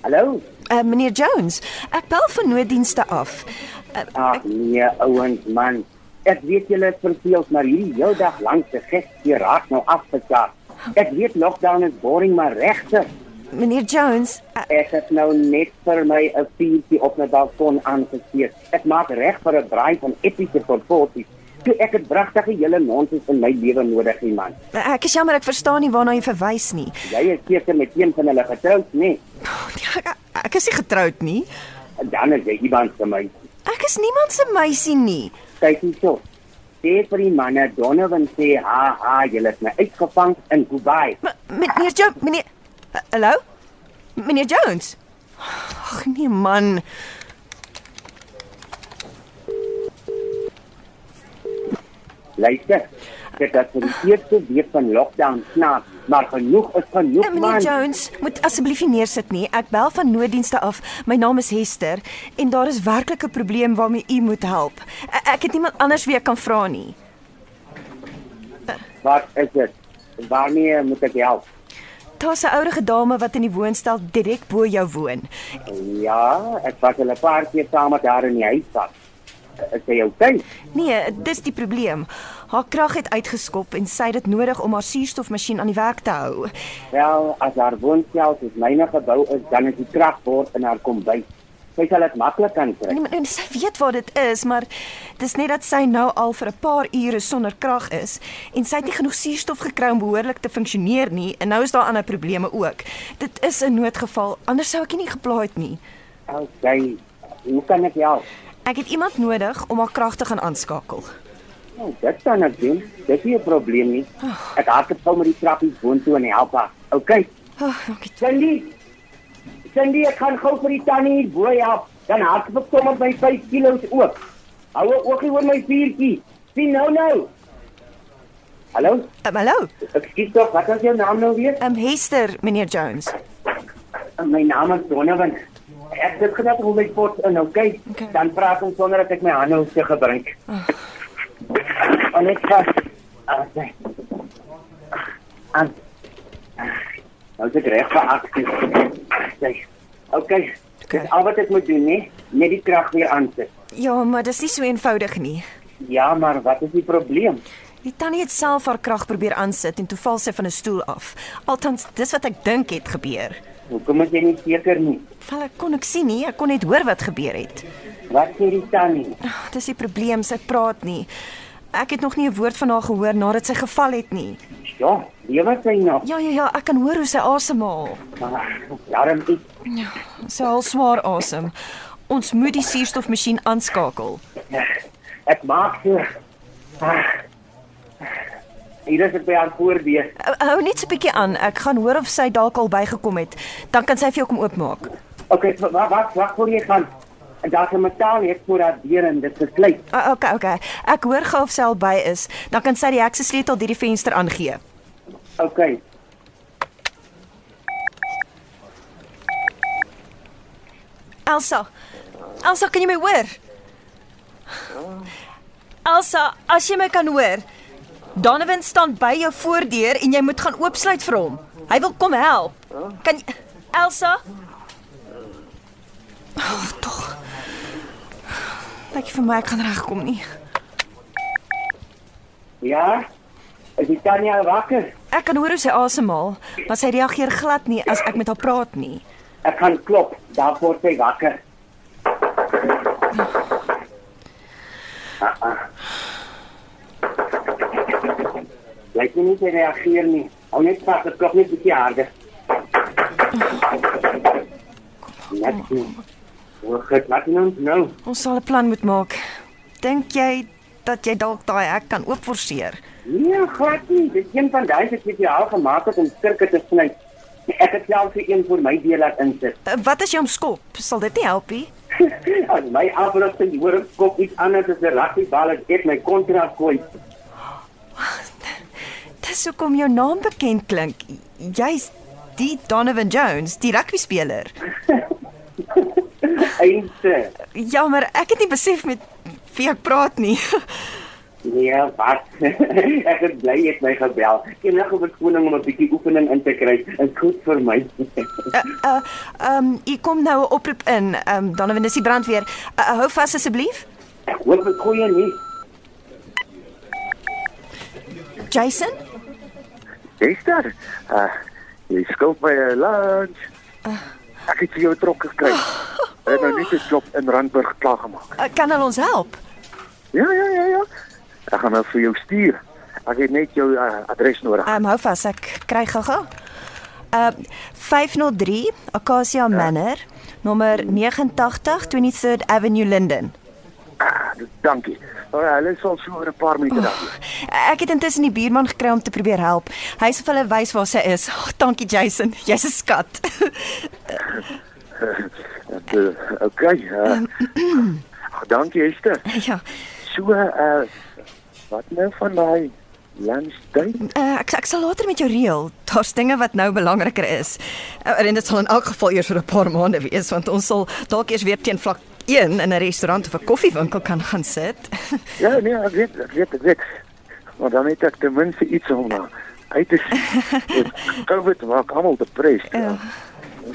[SPEAKER 5] Hallo.
[SPEAKER 2] Uh, meneer Jones, ek bel van nooddienste af. Uh,
[SPEAKER 5] Ag nee, ouens man. Ek weet julle is verveeld, maar hierdie heel dag lank se geskie raak nou afgekaap. Ek weet lockdown is boring, maar regtig,
[SPEAKER 2] meneer Jones, uh,
[SPEAKER 5] ek het nou net vir my 'n vuurtjie op my balkon aangesteek. Ek maak reg vir 'n braai van epiese potpourri.
[SPEAKER 6] So ek het pragtige hele nonsens in my lewe nodig, nie, man.
[SPEAKER 2] eh, Ek is jammer ek verstaan nie waarna jy verwys nie.
[SPEAKER 6] Jy is seker met een van hulle nee, getroud, nê?
[SPEAKER 2] Ja, Ek, ek is nie getroud nie.
[SPEAKER 6] Dan is jy iemand vir my.
[SPEAKER 2] Ek is niemand se meisie nie.
[SPEAKER 6] Kyk hierso. Sê vir die manne Donovan sê, "Ha ha, julle het my uitgevang in Dubai."
[SPEAKER 2] M meneer Jones, meneer Eh, Hallo? Meneer Jones. Ag nee man.
[SPEAKER 6] Luister. Dit is vir die eerste week van lockdown snaaks, maar genoeg is
[SPEAKER 2] Eh,
[SPEAKER 6] genoeg,
[SPEAKER 2] Meneer
[SPEAKER 6] man.
[SPEAKER 2] Jones, moet asseblief nie neersit nie. Ek bel van nooddienste af. My naam is Hester en daar is werklik 'n probleem waarmee u moet help. Eh, Ek het niemand anders wie ek kan vra nie.
[SPEAKER 6] Wat is dit? Waarmee moet ek help?
[SPEAKER 2] Daar's 'n ouerige dame wat in die woonstel direk bo jou woon.
[SPEAKER 6] Ja, ek was al 'n paar keer saam met haar in die huis vas. Is sy okay?
[SPEAKER 2] Nee, dis die probleem. Haar krag het uitgeskop en sy het dit nodig om haar suurstofmasjien aan die werk te hou.
[SPEAKER 6] Wel, as haar woonstel soos myne gebou is, dan is die kragbord in haar kombuis. Sy sal dit maklik kan kry.
[SPEAKER 2] Nee, maar en sy weet wat dit is, maar dis net dat sy nou al vir 'n paar ure sonder krag is en sy het nie genoeg suurstof gekry om behoorlik te funksioneer nie en nou is daar ander probleme ook. Dit is 'n noodgeval, anders sou ek nie geplaai het nie.
[SPEAKER 6] Okay. Hoe kan ek help?
[SPEAKER 2] Ek het iemand nodig om haar krag te gaan aanskakel.
[SPEAKER 6] Nou, dit kan ek doen. Dit is nie 'n probleem nie. Ek hardloop gou met die trappies boontoe en help haar. Okay.
[SPEAKER 2] Oh, dankie.
[SPEAKER 6] Cindy. Cindy, ek gaan gou vir die tannie hier bo help. Dan hardloop ek sommer by 5 kg ook. Hou ook oogie oor my vuurtjie. Sien nou nou. Hallo?
[SPEAKER 2] Um, hallo.
[SPEAKER 6] Ek skiet tog. Wat is jou naam nou weer?
[SPEAKER 2] Ehm um, Hester, meneer Jones.
[SPEAKER 6] My naam is Donovan. Ek het gedag hoe my pot in okay.
[SPEAKER 2] Okay.
[SPEAKER 6] Dan praat ons sonder dat ek my hande hoef te gebruik. En ek vas. Okay. Aan. Nou is ek reg vir aksie. Okay. Okay.
[SPEAKER 2] Okay.
[SPEAKER 6] Dis Al wat ek moet doen, nee, net die krag weer aansit.
[SPEAKER 2] Ja, maar dis nie so eenvoudig nie.
[SPEAKER 6] Ja, maar wat is die probleem?
[SPEAKER 2] Die tannie het self haar krag probeer aansit en toe val sy van 'n stoel af. Althans, dis wat ek dink het gebeur.
[SPEAKER 6] Hoekom is jy nie seker nie?
[SPEAKER 2] Wel, ek kon ek sien nie, ek kon net hoor wat gebeur het.
[SPEAKER 6] Wat sê die tannie?
[SPEAKER 2] Ag, Dis die probleem, sy praat nie. Ek het nog nie 'n woord van haar gehoor nadat sy geval het nie.
[SPEAKER 6] Ja, lewe sy nog?
[SPEAKER 2] Ja ja ja, ek kan hoor hoe sy asemhaal.
[SPEAKER 6] Maar Daarom iets
[SPEAKER 2] Sy haal swaar asem. Ons moet die suurstofmasjien aanskakel.
[SPEAKER 6] Ek maak so. Ah. Hier is ek by haar voordeur.
[SPEAKER 2] Hou- Hou net so 'n bietjie aan. Ek gaan hoor of sy dalk al bygekom het. Dan kan sy vir jou kom oopmaak.
[SPEAKER 6] Okay, wag, wag, wag voor jy gaan. En daar's 'n metaalhek voor haar deur en dit is gesluit.
[SPEAKER 2] Ah, Okay, okay. Ek hoor gou of sy al by is. Dan kan sy die hekse sleutel deur die venster aangee.
[SPEAKER 6] Okay.
[SPEAKER 2] Elsa. Elsa, kan jy my hoor? Elsa, as jy my kan hoor. Donovan staan by jou voordeur en jy moet gaan oopsluit vir hom. Hy wil kom help. Kan jy Elsa? Oh, tog. Dankie vir my, ek kan regkom nie.
[SPEAKER 6] Ja. Is die Tanya al wakker?
[SPEAKER 2] Ek kan hoor hoe sy asemhaal, maar sy reageer glad nie as ek met haar praat nie.
[SPEAKER 6] Ek gaan klop. Daar word sy wakker. Ah, ah. Lyk nie sy reageer nie. Hou net vas, ek klop net 'n bietjie harder. Net so. Hoe goed, wat doen ons nou?
[SPEAKER 2] Ons sal 'n plan moet maak. Dink jy dat jy dalk daai hek kan oopforceer?
[SPEAKER 6] Nee, glad nie. Dit is een van daai wat jy al gemaak het om sirke te sny. Ek het self vir een vir my deel laat insit.
[SPEAKER 2] Eh, Wat as jy hom skop? Sal dit nie help nie?
[SPEAKER 6] As my afrusting hoor ek kop iets anders as 'n rugbybal as ek my kontrak gooi.
[SPEAKER 2] Dis hoekom jou naam bekend klink. Jy's die Donovan Jones, die rugby speler.
[SPEAKER 6] Einte.
[SPEAKER 2] Jammer, ek het nie besef met wie ek praat nie.
[SPEAKER 6] Nee, wat? ek is bly jy het my gebel. Enige verskoning om 'n bietjie oefening in te kry is goed vir my.
[SPEAKER 2] Ehm, uh, ehm um, hier kom nou 'n oproep in. Ehm um, Donovan, dis die brandweer. Uh, uh, hou vas asseblief.
[SPEAKER 6] ek hoop dit goeie nuus.
[SPEAKER 2] Jason?
[SPEAKER 4] Esther, uh, jy skuld my 'n lunch. Ek het vir jou trokke gekry. Hulle het
[SPEAKER 2] eh,
[SPEAKER 4] nou net 'n klop in Randburg klaar gemaak.
[SPEAKER 2] Uh, kan hulle ons help?
[SPEAKER 4] Ja, ja, ja, ja. Ek gaan nou vir jou stuur. Ek het net jou uh, adres nodig.
[SPEAKER 2] Ehm um, hou vas, ek kry gaga. Ehm uh, 503 Acacia Manor, nommer 89 23rd Avenue Linden.
[SPEAKER 4] Uh, dankie. Alraai, hulle sal so oor 'n paar minute daar wees.
[SPEAKER 2] Ek het intussen die buurman gekry om te probeer help. Hy sê vir hulle wys waar sy is. Oh, dankie Jason, jy's 'n skat.
[SPEAKER 4] Uh, okay. Uh, ag, dankie Esther.
[SPEAKER 2] ja,
[SPEAKER 4] So uh wat nou van daai lunchtyd?
[SPEAKER 2] uh, ek ek sal later met jou reël. Daar's dinge wat nou belangriker is. Uh, en dit sal in elk geval eers vir 'n paar maande wees want ons sal dalk eers weer teen vlak 1 in 'n restaurant of 'n koffiewinkel kan gaan sit.
[SPEAKER 4] Ja, nee, ek weet, ek weet, ek weet. Maar dan het ek ten minste iets om na uit te sien. COVID maak almal depressed. Ja.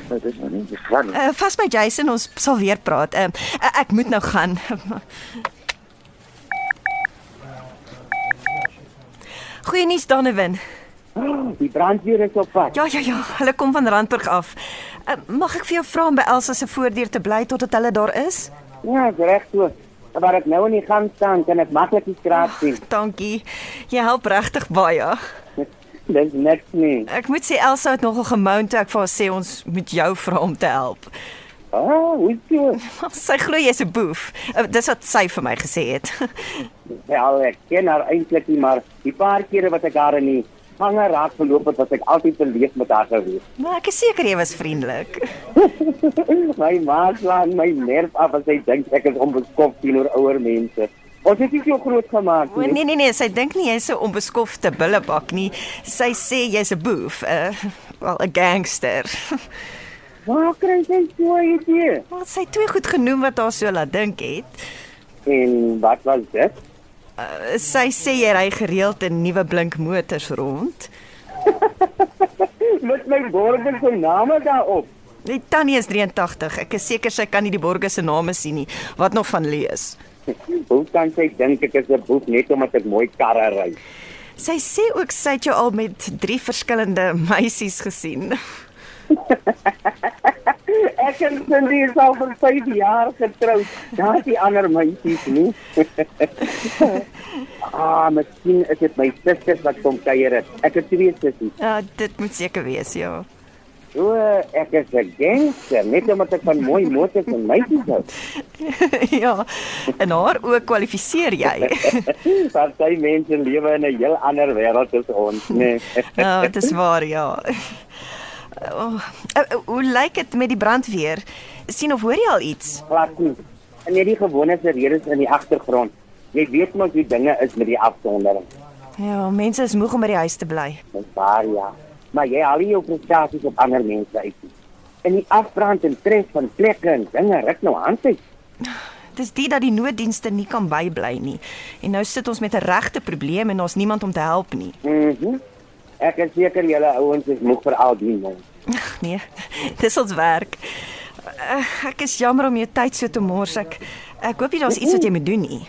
[SPEAKER 4] Dit is nou nie die plan. nie.
[SPEAKER 2] Uh, vas by Jason, ons sal weer praat. Uh, uh, ek moet nou gaan. Goeie nuus Donovan.
[SPEAKER 6] Die brandweer is op pad.
[SPEAKER 2] Ja ja ja, hulle kom van Randburg af. Uh, mag ek vir jou vra om by Elsa se voordeur te bly totdat hulle daar is?
[SPEAKER 6] Ja, is reg so. Maar ek nou in die gang staan kan ek maklik die straat sien.
[SPEAKER 2] Dankie. Jy help regtig baie.
[SPEAKER 6] Dis niks nie.
[SPEAKER 2] Ek moet sê Elsa het nogal gemount toe ek vir haar sê ons moet jou vra om te help.
[SPEAKER 6] Ah, hoe so?
[SPEAKER 2] Sy glo jy's 'n boef. Uh, dis wat sy vir my gesê het.
[SPEAKER 6] Wel, ek ken haar eintlik nie, maar die paar kere wat ek haar in die gange raak geloop het, was ek altyd beleef met haar gewees.
[SPEAKER 2] maar ek is seker jy was vriendelik.
[SPEAKER 6] my ma slaan my nerf af as sy dink ek is onbeskof teenoor ouer mense. Ons het nie so groot gemaak
[SPEAKER 2] O, Nee nee nee, sy dink nie jy's so onbeskofte bullebak nie. Sy sê jy's 'n boef, 'n uh, wel 'n gangster.
[SPEAKER 6] Waar kry jy so 'n idee?
[SPEAKER 2] Wat sy twee goed genoem wat haar so laat dink het.
[SPEAKER 6] En wat was dit?
[SPEAKER 2] Uh, sy sê jy ry gereeld in nuwe blink motors rond.
[SPEAKER 6] Met my borger se name daarop.
[SPEAKER 2] Die tannie is 83. Ek is seker sy kan nie die borgers se name sien nie. Wat nog van lees?
[SPEAKER 6] Hoe kan sy dink ek is 'n boef net omdat ek mooi karre ry?
[SPEAKER 2] Sy sê ook sy het jou al met drie verskillende meisies gesien.
[SPEAKER 6] Ek en Cindy is al vir 5 jaar getroud. Daar's die ander meisies nie. ah, miskien is dit my susters wat kom kuier. het. Ek het twee sissies.
[SPEAKER 2] Ja, uh, dit moet seker wees, ja.
[SPEAKER 6] O, ek is 'n gangster, net omdat ek van mooi motors en meisies hou.
[SPEAKER 2] ja. En haar ook kwalifiseer jy.
[SPEAKER 6] Party mense lewe in 'n heel ander wêreld as ons, nee. né?
[SPEAKER 2] Ja, dit is waar, ja. Oh, eh, hoe lyk dit met die brandweer? sien of hoor jy al iets?
[SPEAKER 6] Glad nie. En hierdie gewone se redes in die agtergrond. Jy weet mos hoe dinge is met die afsondering.
[SPEAKER 2] Ja, mense is moeg om by die huis te bly.
[SPEAKER 6] Dis waar ja. Maar jy haal nie jou prestasies op ander mense uit nie. In die afbrand en stres van plekke en dinge ruk nou hand uit.
[SPEAKER 2] Dis dit dat die nooddienste nie kan bybly nie. En nou sit ons met 'n regte probleem en ons niemand om te help nie.
[SPEAKER 6] Mhm. Mm ek is seker julle ouens is moeg vir al die mens.
[SPEAKER 2] Ag nee, dis ons werk. Eh, Ek is jammer om jou tyd so te mors. Ek ek hoop jy daar's iets wat jy moet doen nie.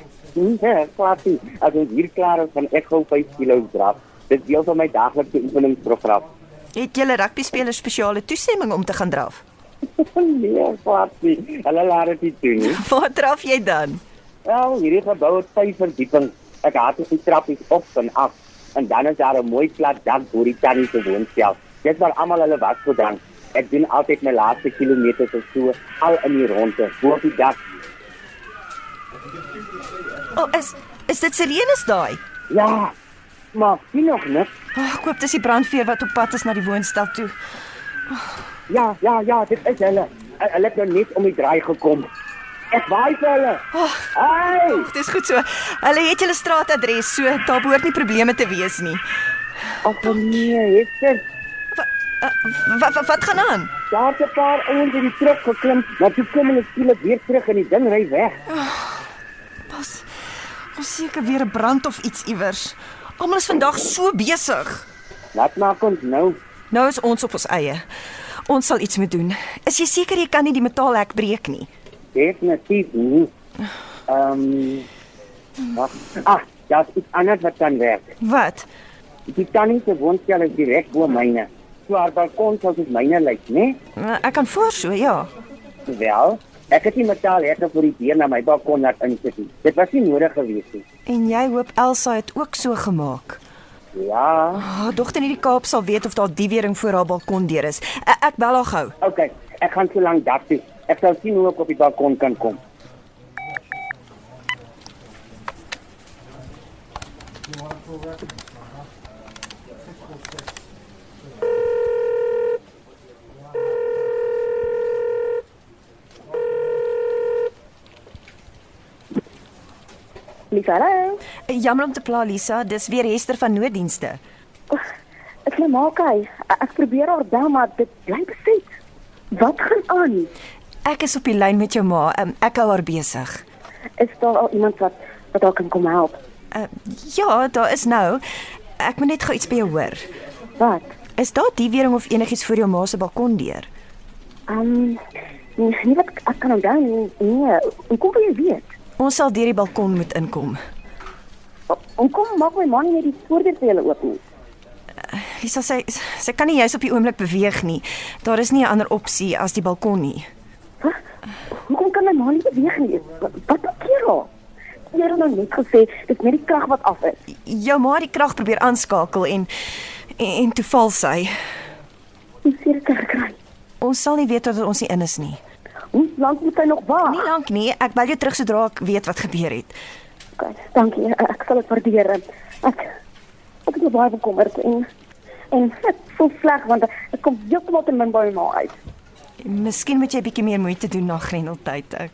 [SPEAKER 6] Ja, klasie. As ons hier klaar is van ek gou 5 kg draf. Dis deel van my daaglikse oefeningsprogram.
[SPEAKER 2] Het julle rugby spelers spesiale toestemming om te gaan draf?
[SPEAKER 6] nee, klasie. Hulle laat dit nie toe nie.
[SPEAKER 2] Waar draf jy dan?
[SPEAKER 6] Wel, hierdie gebou het vyf verdiepings. Ek haat as die trappies op en af en dan is daar 'n mooi plat dak bo die tannie se woonstel. Dit waar almal hulle was vir dan. Ek doen altyd my laaste kilometers of so al in die ronde bo op die dak.
[SPEAKER 2] O, oh, is is dit Sirenes daai?
[SPEAKER 6] Ja. Maar sien nog niks.
[SPEAKER 2] Oh, ek hoop dis die brandveer wat op pad is na die woonstel toe.
[SPEAKER 6] Ja, ja, ja, dit is hulle. Hu- Hulle het nou net om die draai gekom. Ek waai vir hulle. Hey!
[SPEAKER 2] Dis goed so. Hulle het julle straatadres, so daar behoort nie probleme te wees nie.
[SPEAKER 6] Ag nee, Hester.
[SPEAKER 2] Wat eh, wat, wat gaan aan?
[SPEAKER 6] Daar het 'n paar ouens in die trek geklim, maar toe kom hulle skielik weer terug en die ding ry weg.
[SPEAKER 2] Pas. Ons seker weer 'n brand of iets iewers. Almal is vandag so besig.
[SPEAKER 6] Wat maak ons nou?
[SPEAKER 2] Nou is ons op ons eie. Ons sal iets moet doen. Is jy seker jy kan nie die metaalhek breek nie?
[SPEAKER 6] Definitief nie. Ehm um, ag, ag, daar's iets anders wat kan werk.
[SPEAKER 2] Wat?
[SPEAKER 6] Die tannie se woonstel is direk bo myne. So haar balkon sal soos myne lyk, né?
[SPEAKER 2] Eh, Ek kan voor so, ja.
[SPEAKER 6] Wel, Ek het nie metaal hek vir die deur na my balkon laat insit nie. Dit was nie nodig gewees nie.
[SPEAKER 2] En jy hoop Elsa het ook so gemaak.
[SPEAKER 6] Ja,
[SPEAKER 2] Haar dogter in die Kaap sal weet of daar die wering voor haar balkon deur is. Ek, ek bel haar gou.
[SPEAKER 6] okay. Ek gaan so lank dak toe. Ek sal sien hoe ek op die balkon kan kom.
[SPEAKER 5] Lisa, hallo.
[SPEAKER 2] Eh, Jammer om te pla Lisa, dis weer Hester van nooddienste.
[SPEAKER 5] Ek lê maak hy. Ek probeer haar bel maar dit bly beset. Wat gaan aan?
[SPEAKER 2] Ek is op die lyn met jou ma. Um, ek hou haar besig.
[SPEAKER 5] Is daar al iemand wat wat haar kan kom help?
[SPEAKER 2] Uh, ja, daar is nou. Ek moet net gou iets by jou hoor.
[SPEAKER 5] Wat?
[SPEAKER 2] Is daar die wering of enigiets voor jou ma se balkon deur?
[SPEAKER 5] Ehm um, nee, nie wat ek, ek kan onthou nie. Nee, hoe kom jy weet?
[SPEAKER 2] Ons sal deur die balkon moet inkom.
[SPEAKER 5] Hoe kom maak my man nie net die voordeur vir julle oop nie?
[SPEAKER 2] Lisa sê sy kan nie juis op die oomblik beweeg nie. Daar is nie 'n ander opsie as die balkon nie.
[SPEAKER 5] Hoekom kan my ma nie beweeg nie? Wat wat keer haar? Jy het nou net gesê dis net die krag wat af is.
[SPEAKER 2] Jou ma het die krag probeer aanskakel en en, en toe val sy.
[SPEAKER 5] Hoe seer kan gekry?
[SPEAKER 2] Ons sal nie weet totdat ons nie in is nie.
[SPEAKER 5] Hoe lank moet sy nog wag?
[SPEAKER 2] Nie lank nie. Ek bel jou terug sodra ek weet wat gebeur het.
[SPEAKER 5] Okay, dankie. Ek- Ek sal dit waardeer. Ek ek is baie bekommerd en en ek voel sleg want ek kom heeltemal te min by my ma uit.
[SPEAKER 2] Miskien moet jy bietjie meer moeite doen na grendeltyd. Ek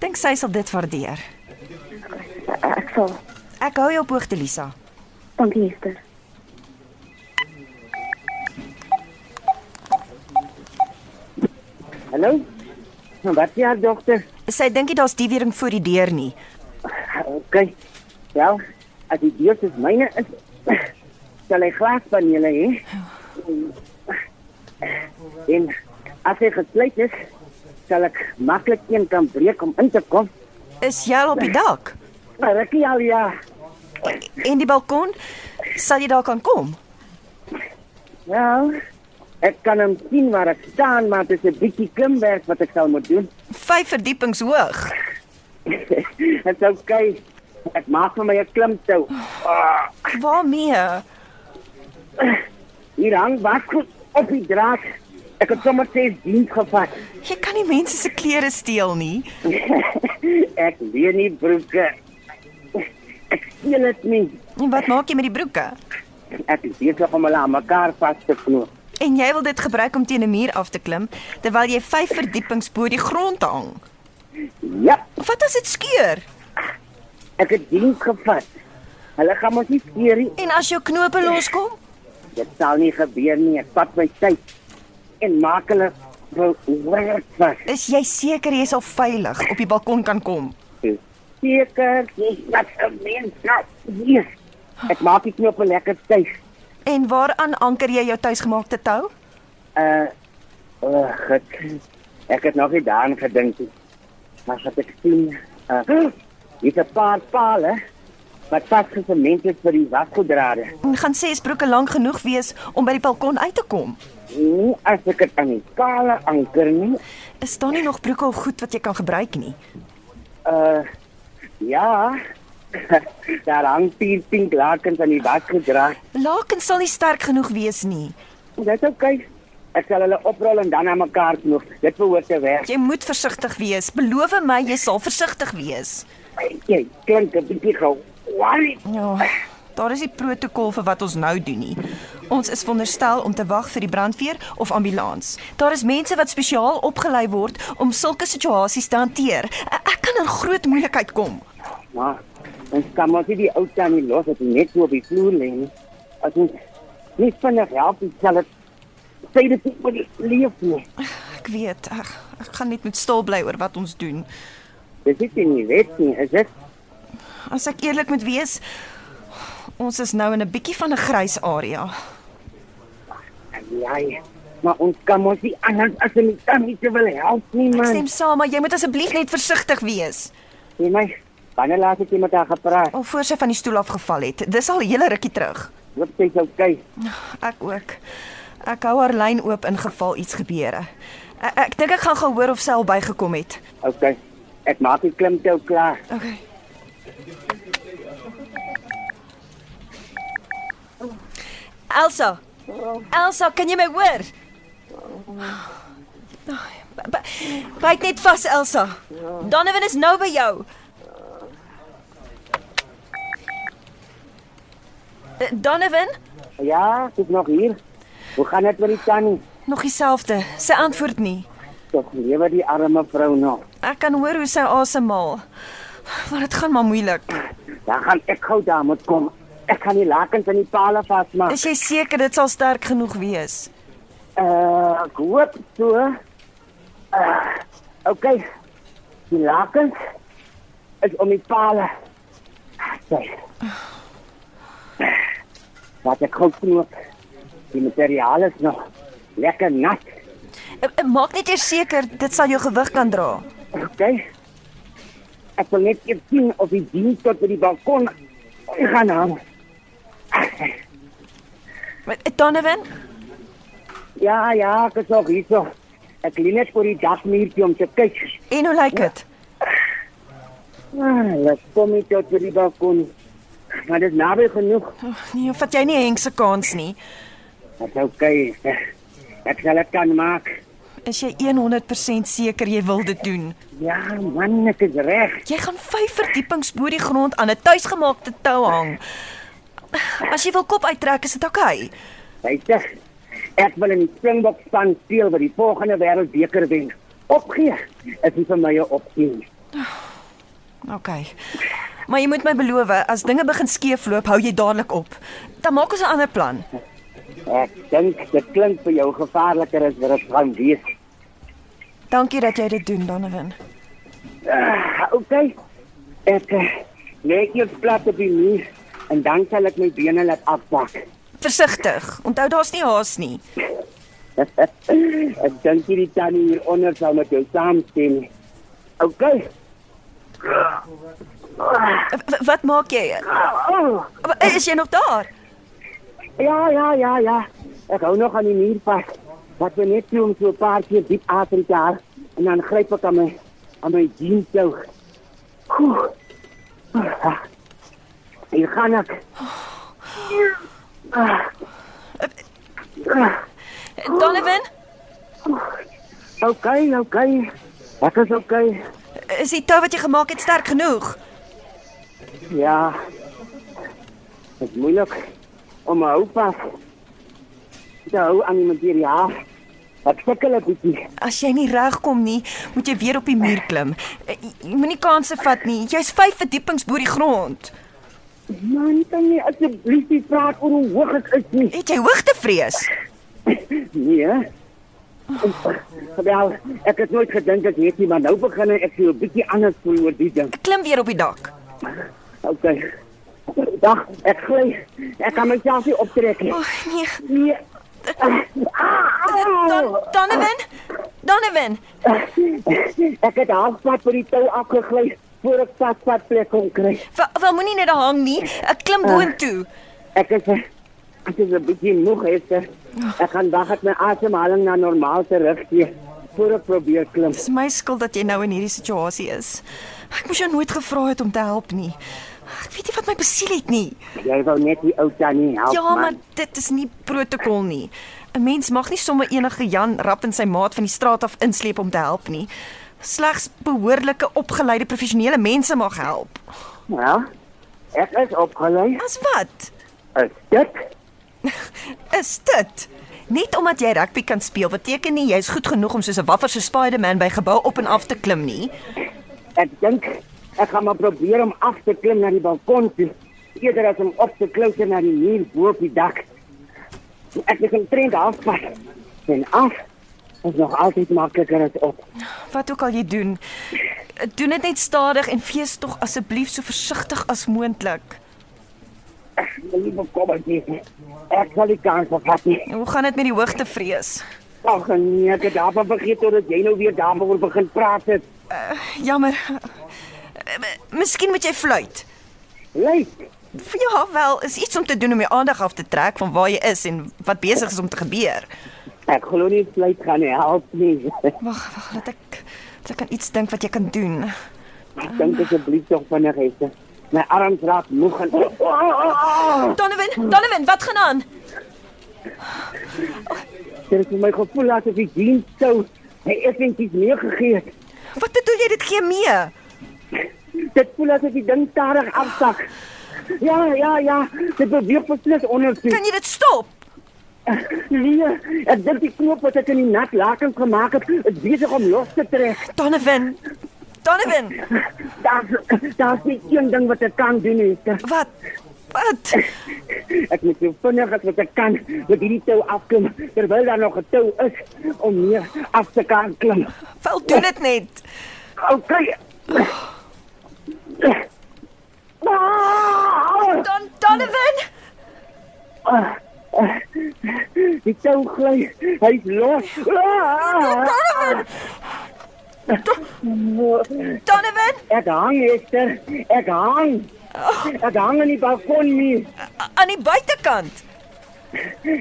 [SPEAKER 2] dink sy sal dit waardeer.
[SPEAKER 5] Ek Eh, ek sal
[SPEAKER 2] Ek hou jou op hoogte, Lisa.
[SPEAKER 5] dankie Esther.
[SPEAKER 6] Hallo? Nou, wat ja, dokter?
[SPEAKER 2] Sy dink nie daar's die wering voor die deur nie.
[SPEAKER 6] Okay. Ja, Ah, as die deur is myne is sal hy glaspanele hê. En as hy gesluit is, sal ek maklik een kan breek om in te kom.
[SPEAKER 2] Is jy al op die dak?
[SPEAKER 6] Maar ek ja, ja.
[SPEAKER 2] En die balkon? Sal jy daar kan kom?
[SPEAKER 6] Wel, ek kan hom sien waar ek staan, maar dit is 'n bietjie klimwerk wat ek sal moet doen.
[SPEAKER 2] Vyf verdiepings hoog.
[SPEAKER 6] Dit's okay. Ek maak vir my 'n klimtou.
[SPEAKER 2] Waarmee?
[SPEAKER 6] Hier hang wasgoed op die draad. Ek het sommer ses diens gevat.
[SPEAKER 2] Jy kan nie mense se klere steel nie.
[SPEAKER 6] ek leen nie broeke. Ek steel dit nie.
[SPEAKER 2] En wat maak jy met die broeke?
[SPEAKER 6] Ek is besig om hulle aan mekaar vas te knoop.
[SPEAKER 2] En jy wil dit gebruik om teen 'n muur af te klim terwyl jy vyf verdiepings bo die grond hang.
[SPEAKER 6] Ja,
[SPEAKER 2] Wat as dit skeur?
[SPEAKER 6] ek het diens gevat. Hulle gaan mos nie skeer nie.
[SPEAKER 2] En as jou knope loskom?
[SPEAKER 6] Dit sal nie gebeur nie. Ek vat my tyd en maak hulle behoorlik vas.
[SPEAKER 2] Is jy seker jy sal veilig op die balkon kan kom?
[SPEAKER 6] Seker, dis wat 'n mens nou hier. Ek maak die knoop lekker styf.
[SPEAKER 2] En waaraan anker jy jou tuisgemaakte tou?
[SPEAKER 6] Uh, uh, ek, ek het nog nie daaraan gedink nie. Maar wat ek sien, uh, dis 'n paar pale wat vasgesemend is vir die wasgoedrade.
[SPEAKER 2] En gaan sê is broeke lank genoeg wees om by die balkon uit te kom.
[SPEAKER 6] Nie as ek dit aan die kale anker nie.
[SPEAKER 2] Is daar nie nog broeke of goed wat jy kan gebruik nie?
[SPEAKER 6] Uh, ja, daar hang vier pink lakens aan die wasgoedraad.
[SPEAKER 2] Lakens sal nie sterk genoeg wees nie.
[SPEAKER 6] Dit is okay. Ek sal hulle oprol en dan aan mekaar knoop. Dit behoort te werk.
[SPEAKER 2] Jy moet versigtig wees. Beloof my jy sal versigtig wees.
[SPEAKER 6] Jy klink 'n bietjie gou. Why?
[SPEAKER 2] Ja. Daar is die protokol vir wat ons nou doen nie. Ons is veronderstel om te wag vir die brandweer of ambulans. Daar is mense wat spesiaal opgelei word om sulke situasies te hanteer. E- Ek kan in groot moeilikheid kom.
[SPEAKER 6] Maar ons kan maar nie die ou tannie los dat hy net so op die vloer lê nie. As ons nie vinnig help, dan sal dit sê dit nie oor die leef nie.
[SPEAKER 2] Ek weet, ek, ek gaan net moet stil bly oor wat ons doen.
[SPEAKER 6] Dit is nie nie wet nie, is dit?
[SPEAKER 2] As ek eerlik moet wees, ons is nou in 'n bietjie van 'n grys area.
[SPEAKER 6] Ja, ja. maar ons kan mos nie anders as om die tannie te wil help nie,
[SPEAKER 2] Ek
[SPEAKER 6] man.
[SPEAKER 2] stem saam, maar jy moet asseblief net versigtig wees.
[SPEAKER 6] Nee, my, wanneer laas het jy met haar gepraat?
[SPEAKER 2] Al voor sy van die stoel af geval het. Dis al 'n hele rukkie terug.
[SPEAKER 6] Wat sê jy okay?
[SPEAKER 2] Ek ook. Ek hou haar lyn oop in geval iets gebeure. Ek, ek dink ek gaan gou hoor of sy al bygekom het.
[SPEAKER 6] OK. Ek maak die klimtou klaar.
[SPEAKER 2] Okay. Elsa. Elsa, kan jy my hoor? Ai, by- by- Byt net vas, Elsa. Donovan is nou by jou. Eh, Donovan,
[SPEAKER 6] Ja, ek is nog hier. Hoe gaan dit met die tannie?
[SPEAKER 2] nog dieselfde. Sy antwoord nie.
[SPEAKER 6] Tog lewe die arme vrou nog.
[SPEAKER 2] Ek kan hoor hoe sy asemhaal. Maar dit gaan maar moeilik.
[SPEAKER 6] Dan gaan ek gou daar moet kom. Ek kan die lakens aan die pale vasmaak.
[SPEAKER 2] Is jy seker dit sal sterk genoeg wees?
[SPEAKER 6] Uh, ek hoop so. Uh, OK. Die lakens is om die pale. Sê. Wat ek gou knoop. Die materiaal is nog lekker nat.
[SPEAKER 2] Eh, eh, Maak net eers seker dit sal jou gewig kan dra.
[SPEAKER 6] OK. Ek wil net eers sien of die dien tot by die balkon gaan hang.
[SPEAKER 2] Maar, eh, Donovan,
[SPEAKER 6] Ja, ja, ek is nog hierso. Ek lê net voor die dakmuurtjie om te kyk.
[SPEAKER 2] en hoe lyk dit?
[SPEAKER 6] Ah, laat kom ek tot by die balkon. Maar dit is naby genoeg.
[SPEAKER 2] Ag nee, vat jy nie Henk se kans nie.
[SPEAKER 6] Dit is okay. Ek sal dit kan maak.
[SPEAKER 2] Is jy 100% seker jy wil dit doen?
[SPEAKER 6] Ja, man, ek is reg.
[SPEAKER 2] Jy gaan vyf verdiepings bo die grond aan 'n tuisgemaakte tou hang. As jy wil kop uittrek, is dit oukei. Okay.
[SPEAKER 6] Luister. Ek wil in die Springbok span speel vir die volgende wêreldbeker wen. Opgee. Dit is vir my 'n opsie. nie.
[SPEAKER 2] Okay. Maar jy moet my beloof, as dinge begin skeefloop, hou jy dadelik op. Dan maak ons 'n ander plan.
[SPEAKER 6] Ek dink dit klink vir jou gevaarliker as wat dit gaan wees.
[SPEAKER 2] Dankie dat jy dit doen, Donovan.
[SPEAKER 6] Ah, okay. Ek eh, lê eers plat op die muur en dan sal ek my bene laat afpak.
[SPEAKER 2] Versigtig. Onthou daar's nie haas nie.
[SPEAKER 6] Ek dink hierdie tannie hier onder sal met jou saamstem. Okay.
[SPEAKER 2] Eh, w- Wat maak jy?
[SPEAKER 6] Oh,
[SPEAKER 2] Wa- Is jy nog daar?
[SPEAKER 6] ja, ja, ja, ja. Ek hou nog aan die muur vas. Wat my net doen so 'n paar keer diep asem te haal en dan gryp ek aan my aan my jeans toe. Oeh. Ah, Hier gaan ek.
[SPEAKER 2] Donovan,
[SPEAKER 6] Okay, okay. Ek is okay.
[SPEAKER 2] is die tou wat jy gemaak het sterk genoeg?
[SPEAKER 6] Ja. Dit is moeilik om my hou vas te hou aan die materiaal. Wat sukkel ek bietjie.
[SPEAKER 2] As jy nie regkom nie, moet jy weer op die muur klim. Eh, Jy jy moenie kansse vat nie. Jy's 5 verdiepings bo die grond.
[SPEAKER 6] Man, kan jy asseblief nie praat oor hoe hoog ek is nie?
[SPEAKER 2] Het jy hoogtevrees?
[SPEAKER 6] Nee. hè? Wel, ek het nooit gedink ek weet nie, maar nou begin ek so 'n bietjie anders voel oor die ding.
[SPEAKER 2] Klim weer op die dak.
[SPEAKER 6] Okay. Dag, ek gly. Ek kan myself nie optrek nie.
[SPEAKER 2] O oh, nee,
[SPEAKER 6] Nee. Ah,
[SPEAKER 2] Don, Donovan, Donovan,
[SPEAKER 6] Ek het halfpad vir die tou afgegly voor ek vasvat plek kon kry.
[SPEAKER 2] wel, wel moenie net daar hang nie. Ek klim boontoe.
[SPEAKER 6] Ek is ek is 'n bietjie moeg gister. Ek gaan wag dat my asemhaling na normaal terugkeer voor ek probeer klim.
[SPEAKER 2] Dis my skuld dat jy nou in hierdie situasie is. Ek moes jou nooit gevra het om te help nie. Ek weet nie wat my besiel het nie.
[SPEAKER 6] Jy wou net die ou tannie help.
[SPEAKER 2] Ja,
[SPEAKER 6] man.
[SPEAKER 2] maar dit is nie protokol nie. 'n Mens mag nie sommer enige Jan rap in sy maat van die straat af insleep om te help nie. Slegs behoorlike opgeleide professionele mense mag help.
[SPEAKER 6] Ja. Ek is opgelei.
[SPEAKER 2] As wat?
[SPEAKER 6] Is dit?
[SPEAKER 2] Is dit? Net omdat jy rugby kan speel beteken nie jy's goed genoeg om soos 'n waffer so Spider-Man by gebou op en af te klim nie.
[SPEAKER 6] Ek dink ek gaan maar probeer om af te klim na die balkon toe. Eerder as om op te klouter na die muur bo op die dak. Ek is omtrent halfpad. En af is nog altyd makliker as op.
[SPEAKER 2] Wat ook al jy doen, doen dit net stadig en wees tog asseblief so versigtig as moontlik.
[SPEAKER 6] Moenie bekommerd wees nie. Ek sal die kans vat nie.
[SPEAKER 2] Hoe gaan dit met die hoogtevrees?
[SPEAKER 6] Ag nee, ek het daarvan vergeet totdat jy nou weer daaroor begin praat het.
[SPEAKER 2] Jammer. Miskien moet jy fluit.
[SPEAKER 6] Lyk,
[SPEAKER 2] Vir jou wel is iets om te doen om jou aandag af te trek van waar jy is en wat besig is om te gebeur.
[SPEAKER 6] Ek glo nie dit gaan nie help nie.
[SPEAKER 2] Wag, wag, laat ek laat ek aan iets dink wat jy kan doen.
[SPEAKER 6] Ek dink asseblief tog vinnig hesse. My arms raak moeg en Oh,
[SPEAKER 2] Donovan, Donovan, wat gaan aan?
[SPEAKER 6] dit is vir my gevoel asof die jeans sou my effentjies meegegee het.
[SPEAKER 2] Wat bedoel jy dit gee mee?
[SPEAKER 6] Dit voel asof die ding stadig afsak. Ja, ja, ja, dit beweeg beslis onder sy.
[SPEAKER 2] Kan jy dit stop?
[SPEAKER 6] Nee, ek dink die knoop wat ek in die nat lakens gemaak het, is besig om los te trek.
[SPEAKER 2] Donovan. Donovan,
[SPEAKER 6] Daar's daar's nie een ding wat ek kan doen nie. Esther.
[SPEAKER 2] wat? Wat?
[SPEAKER 6] Ek moet so vinnig as wat ek kan met hierdie tou afklim terwyl daar nog 'n tou is om meer af te kan klim.
[SPEAKER 2] Wel doen dit net.
[SPEAKER 6] Okay. Ah!
[SPEAKER 2] Don Donovan,
[SPEAKER 6] Die tou ah, gly. Hy's los. Ah!
[SPEAKER 2] Donovan, Donovan,
[SPEAKER 6] Ek hang, Esther. Ek hang. Ek hang in die balkon nie.
[SPEAKER 2] a- aan die buitekant.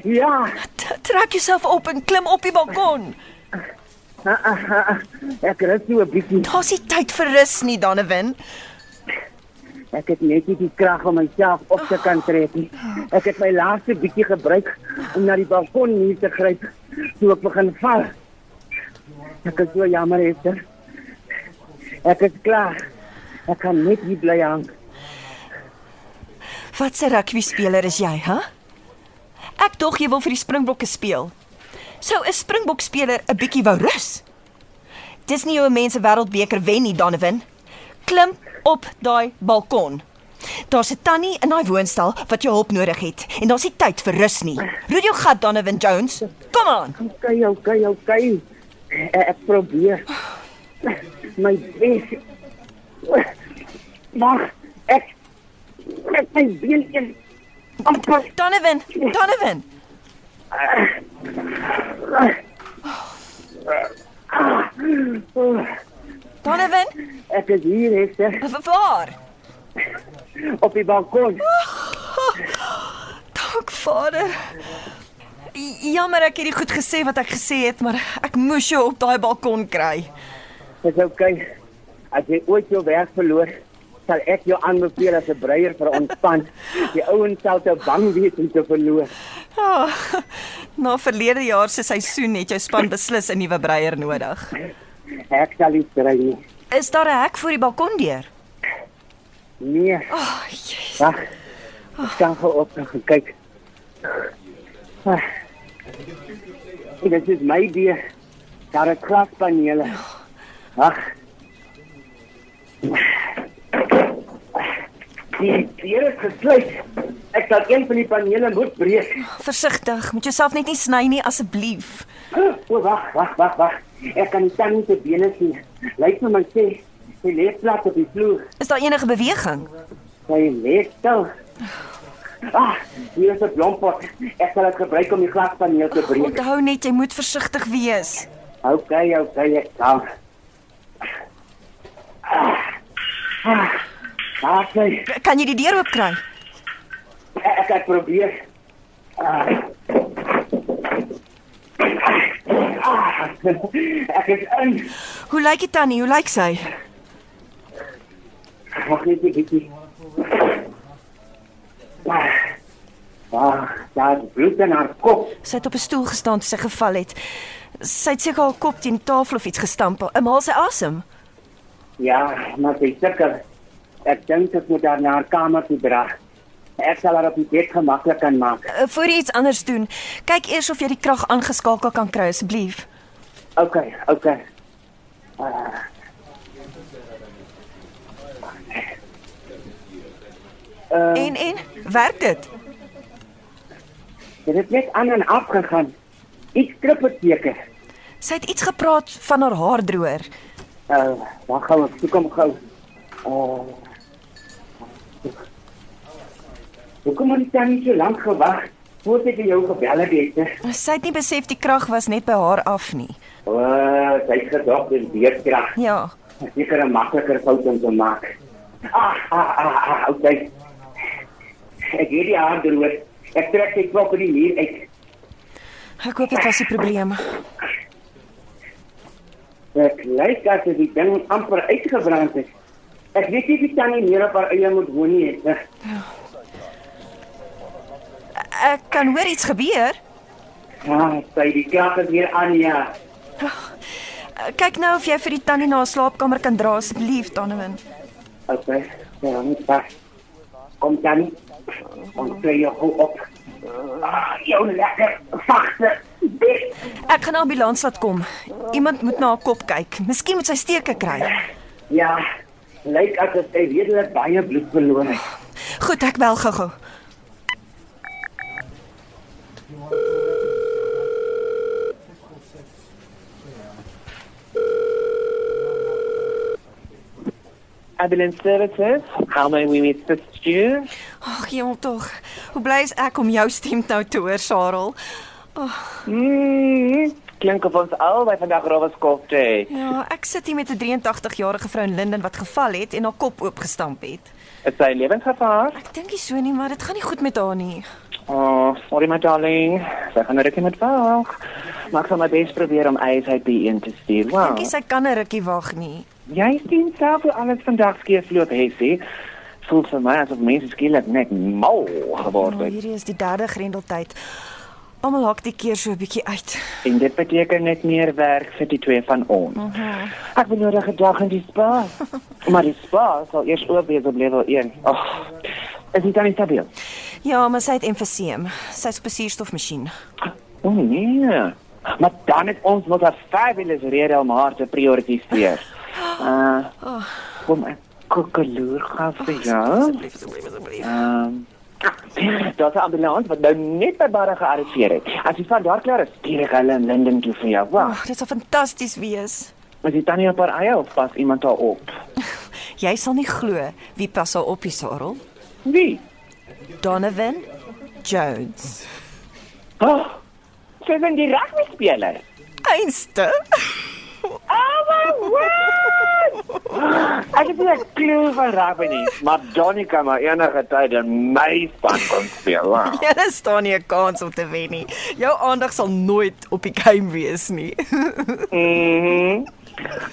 [SPEAKER 6] Ja.
[SPEAKER 2] T- Trek jouself op en klim op die balkon.
[SPEAKER 6] Ah, ah, ah. Ek rus so 'n bietjie.
[SPEAKER 2] Daar's nie tyd vir rus nie, Donovan.
[SPEAKER 6] Ek het net nie die krag om myself op te kan trek nie. Ek het my laaste bietjie gebruik om na die balkonmuur te gryp toe ek begin val. Ek is so jammer, Esther. Ek is klaar. Ek kan net hier bly hang.
[SPEAKER 2] Wat 'n rugby speler is jy, hè? Ek dog jy wil vir die Springbokke speel. Sou 'n Springbok speler 'n bietjie wou rus. Dis nie hoe mense wêreldbeker wen nie, Donovan. Klim op daai balkon. Daar's 'n tannie in daai woonstel wat jou hulp nodig het en daar's nie tyd vir rus nie. Roep jou gat, Donovan Jones. Kom aan.
[SPEAKER 6] Okay, okay, okay. Eh, Ek, ek probeer. My bes. Maar ek ek my been in amper
[SPEAKER 2] Donovan, Donovan. Donovan,
[SPEAKER 6] ek is hier, Esther,
[SPEAKER 2] w- waar?
[SPEAKER 6] op die balkon.
[SPEAKER 2] Dank Vader. J- Jammer ek het nie goed gesê wat ek gesê het, maar ek moes jou op daai balkon kry.
[SPEAKER 6] Dis okay. As jy ooit jou werk verloor, sal ek jou aanbeveel as 'n breier vir ontspan. Die ouens sal te bang wees om te verloor.
[SPEAKER 2] Oh, na verlede jaar se seisoen het jou span beslis 'n nuwe breier nodig.
[SPEAKER 6] Ek sal nie strei nie.
[SPEAKER 2] Is daar 'n hek voor die balkon deur?
[SPEAKER 6] Nee,
[SPEAKER 2] Ag, oh,
[SPEAKER 6] wag. Ek staan gou op en gaan kyk. Ah, Dit is my idee. Daar is glaspanele. Wag. Die deur is gesluit. Ek sal een van die panele moet breek.
[SPEAKER 2] versigtig, moet jouself net nie sny nie asseblief.
[SPEAKER 6] O, wag, wag, wag, wag. Ek kan nie tannie se bene sien. Lyk vir my sê sy lê plat op die vloer.
[SPEAKER 2] Is daar enige beweging?
[SPEAKER 6] Sy lê stil. Ah, hier is 'n blompot. Ek sal dit gebruik om die glaspaneel te breek.
[SPEAKER 2] Onthou net jy moet versigtig wees.
[SPEAKER 6] Okay, okay, ek kan. Ah, ah, ah,
[SPEAKER 2] K- Kan jy die deur oop kry?
[SPEAKER 6] Ek ek het probeer. Ah. Ah, ek is in.
[SPEAKER 2] Hoe lyk dit tannie? Hoe lyk sy?
[SPEAKER 6] Mag net 'n bietjie. Ah, ah, daar is bloed in haar kop.
[SPEAKER 2] Sy het op 'n stoel gestaan toe sy geval het. Sy het seker haar kop teen die tafel of iets gestamp. Maal sy asem.
[SPEAKER 6] Ja, maar sy is seker. Ek dink ek moet haar na haar kamer toe dra. Ek sal haar op die bed gemaklik kan maak.
[SPEAKER 2] Uh, Voor jy iets anders doen, kyk eers of jy die krag aangeskakel kan kry asseblief.
[SPEAKER 6] Okay, okay.
[SPEAKER 2] Uh, en en werk dit?
[SPEAKER 6] Dit het net aan en af gegaan. Iets Eh, krip het seker.
[SPEAKER 2] Sy het iets gepraat van haar haardroër.
[SPEAKER 6] Uh, wag gou, ek soek hom gou. Uh. Hoekom het jy dan nie so lank gewag voordat ek jou gebel het, Esther?
[SPEAKER 2] Sy het nie besef die krag was net by haar af nie.
[SPEAKER 6] O, sy het gedog dis beerkrag.
[SPEAKER 2] Ja,
[SPEAKER 6] Seker 'n makliker fout om te maak. Ah, ah, ah, ah okay. Ek het die hand droog. Ek trek die klok in die muur uit.
[SPEAKER 2] Ek hoop dit was die probleem.
[SPEAKER 6] Ek lyk asof die ding amper uitgebrand is. Ek weet nie wie tannie meer op haar eie moet woon nie. Ek-
[SPEAKER 2] Ek kan hoor iets gebeur.
[SPEAKER 6] Ja, sy die kerk is weer aan ja.
[SPEAKER 2] Eh, Kyk nou of jy vir die tannie na haar slaapkamer kan dra asseblief, Donovan.
[SPEAKER 6] Okay. Ja, net pas. Kom tannie. Ons kry jou gou op. Ah, jou lekker sagte bed.
[SPEAKER 2] Ek gaan 'n ambulans laat kom. Iemand moet na haar kop kyk. Miskien moet sy steke kry.
[SPEAKER 6] Ja. Lyk asof sy redelik baie bloed verloor het.
[SPEAKER 2] Goed, ek bel gou-gou.
[SPEAKER 7] Ambulance services. How may we assist you?
[SPEAKER 2] Ag, jemmel tog. Hoe bly is ek om jou stem nou te hoor, Sarel?
[SPEAKER 7] Mm, klink of ons albei vandag rowerskop het.
[SPEAKER 2] Ja, ek sit hier met 'n 83-jarige vrou in Linden wat geval het en haar kop oopgestamp het.
[SPEAKER 7] Is sy lewensgevaar?
[SPEAKER 2] Ek dink nie so nie, maar dit gaan nie goed met haar nie.
[SPEAKER 7] Oh, sorry my darling. Sy gaan 'n rukkie met wag. Maar ek sal my bes probeer om eis uit die een te stuur. Wow.
[SPEAKER 2] Dankie, sy kan 'n rukkie wag nie.
[SPEAKER 7] Jy sien self hoe alles vandag skeefloop, Hessie. Voel vir my asof mense skielik net mal geword
[SPEAKER 2] Nou,
[SPEAKER 7] het.
[SPEAKER 2] hierdie is die derde grendeltyd. Almal hak die keer so 'n bietjie uit.
[SPEAKER 7] En dit beteken net meer werk vir die twee van ons. Mm -hmm. Ek benodig 'n dag in die spa. maar die spa sal eers oop wees op level 1. Ag. Is dit dan nie stabiel?
[SPEAKER 2] Ja, maar sy het emfyseem. Sy's op 'n suurstofmasjien.
[SPEAKER 7] O oh, nee. Maar dan het ons nog 'n fabulous rede om haar te prioritiseer. Uh, kom ek kokkeloer gaan vir jou.
[SPEAKER 2] Asseblief, asseblief, asseblief.
[SPEAKER 7] Ehm Daar's 'n ambulans wat nou net by Barra gearriveer het. As jy van daar klaar is, stuur ek hulle in Linden toe vir jou. Wag,
[SPEAKER 2] Ag, dit sal fantasties wees.
[SPEAKER 7] is dit tannie op haar eie of pas iemand daar op?
[SPEAKER 2] Jy sal nie glo wie pas haar op, die Sarel.
[SPEAKER 7] Wie?
[SPEAKER 2] Donovan Jones.
[SPEAKER 7] Oh, sy is die rugbyspeler.
[SPEAKER 2] Einste.
[SPEAKER 7] Ek het nie 'n klou van rugby nie, maar Johnny kan maar enige tyd in my span kom speel. Wow.
[SPEAKER 2] Jy staan nie 'n kans om te wen nie. Jou aandag sal nooit op die game wees nie.
[SPEAKER 7] Mhm.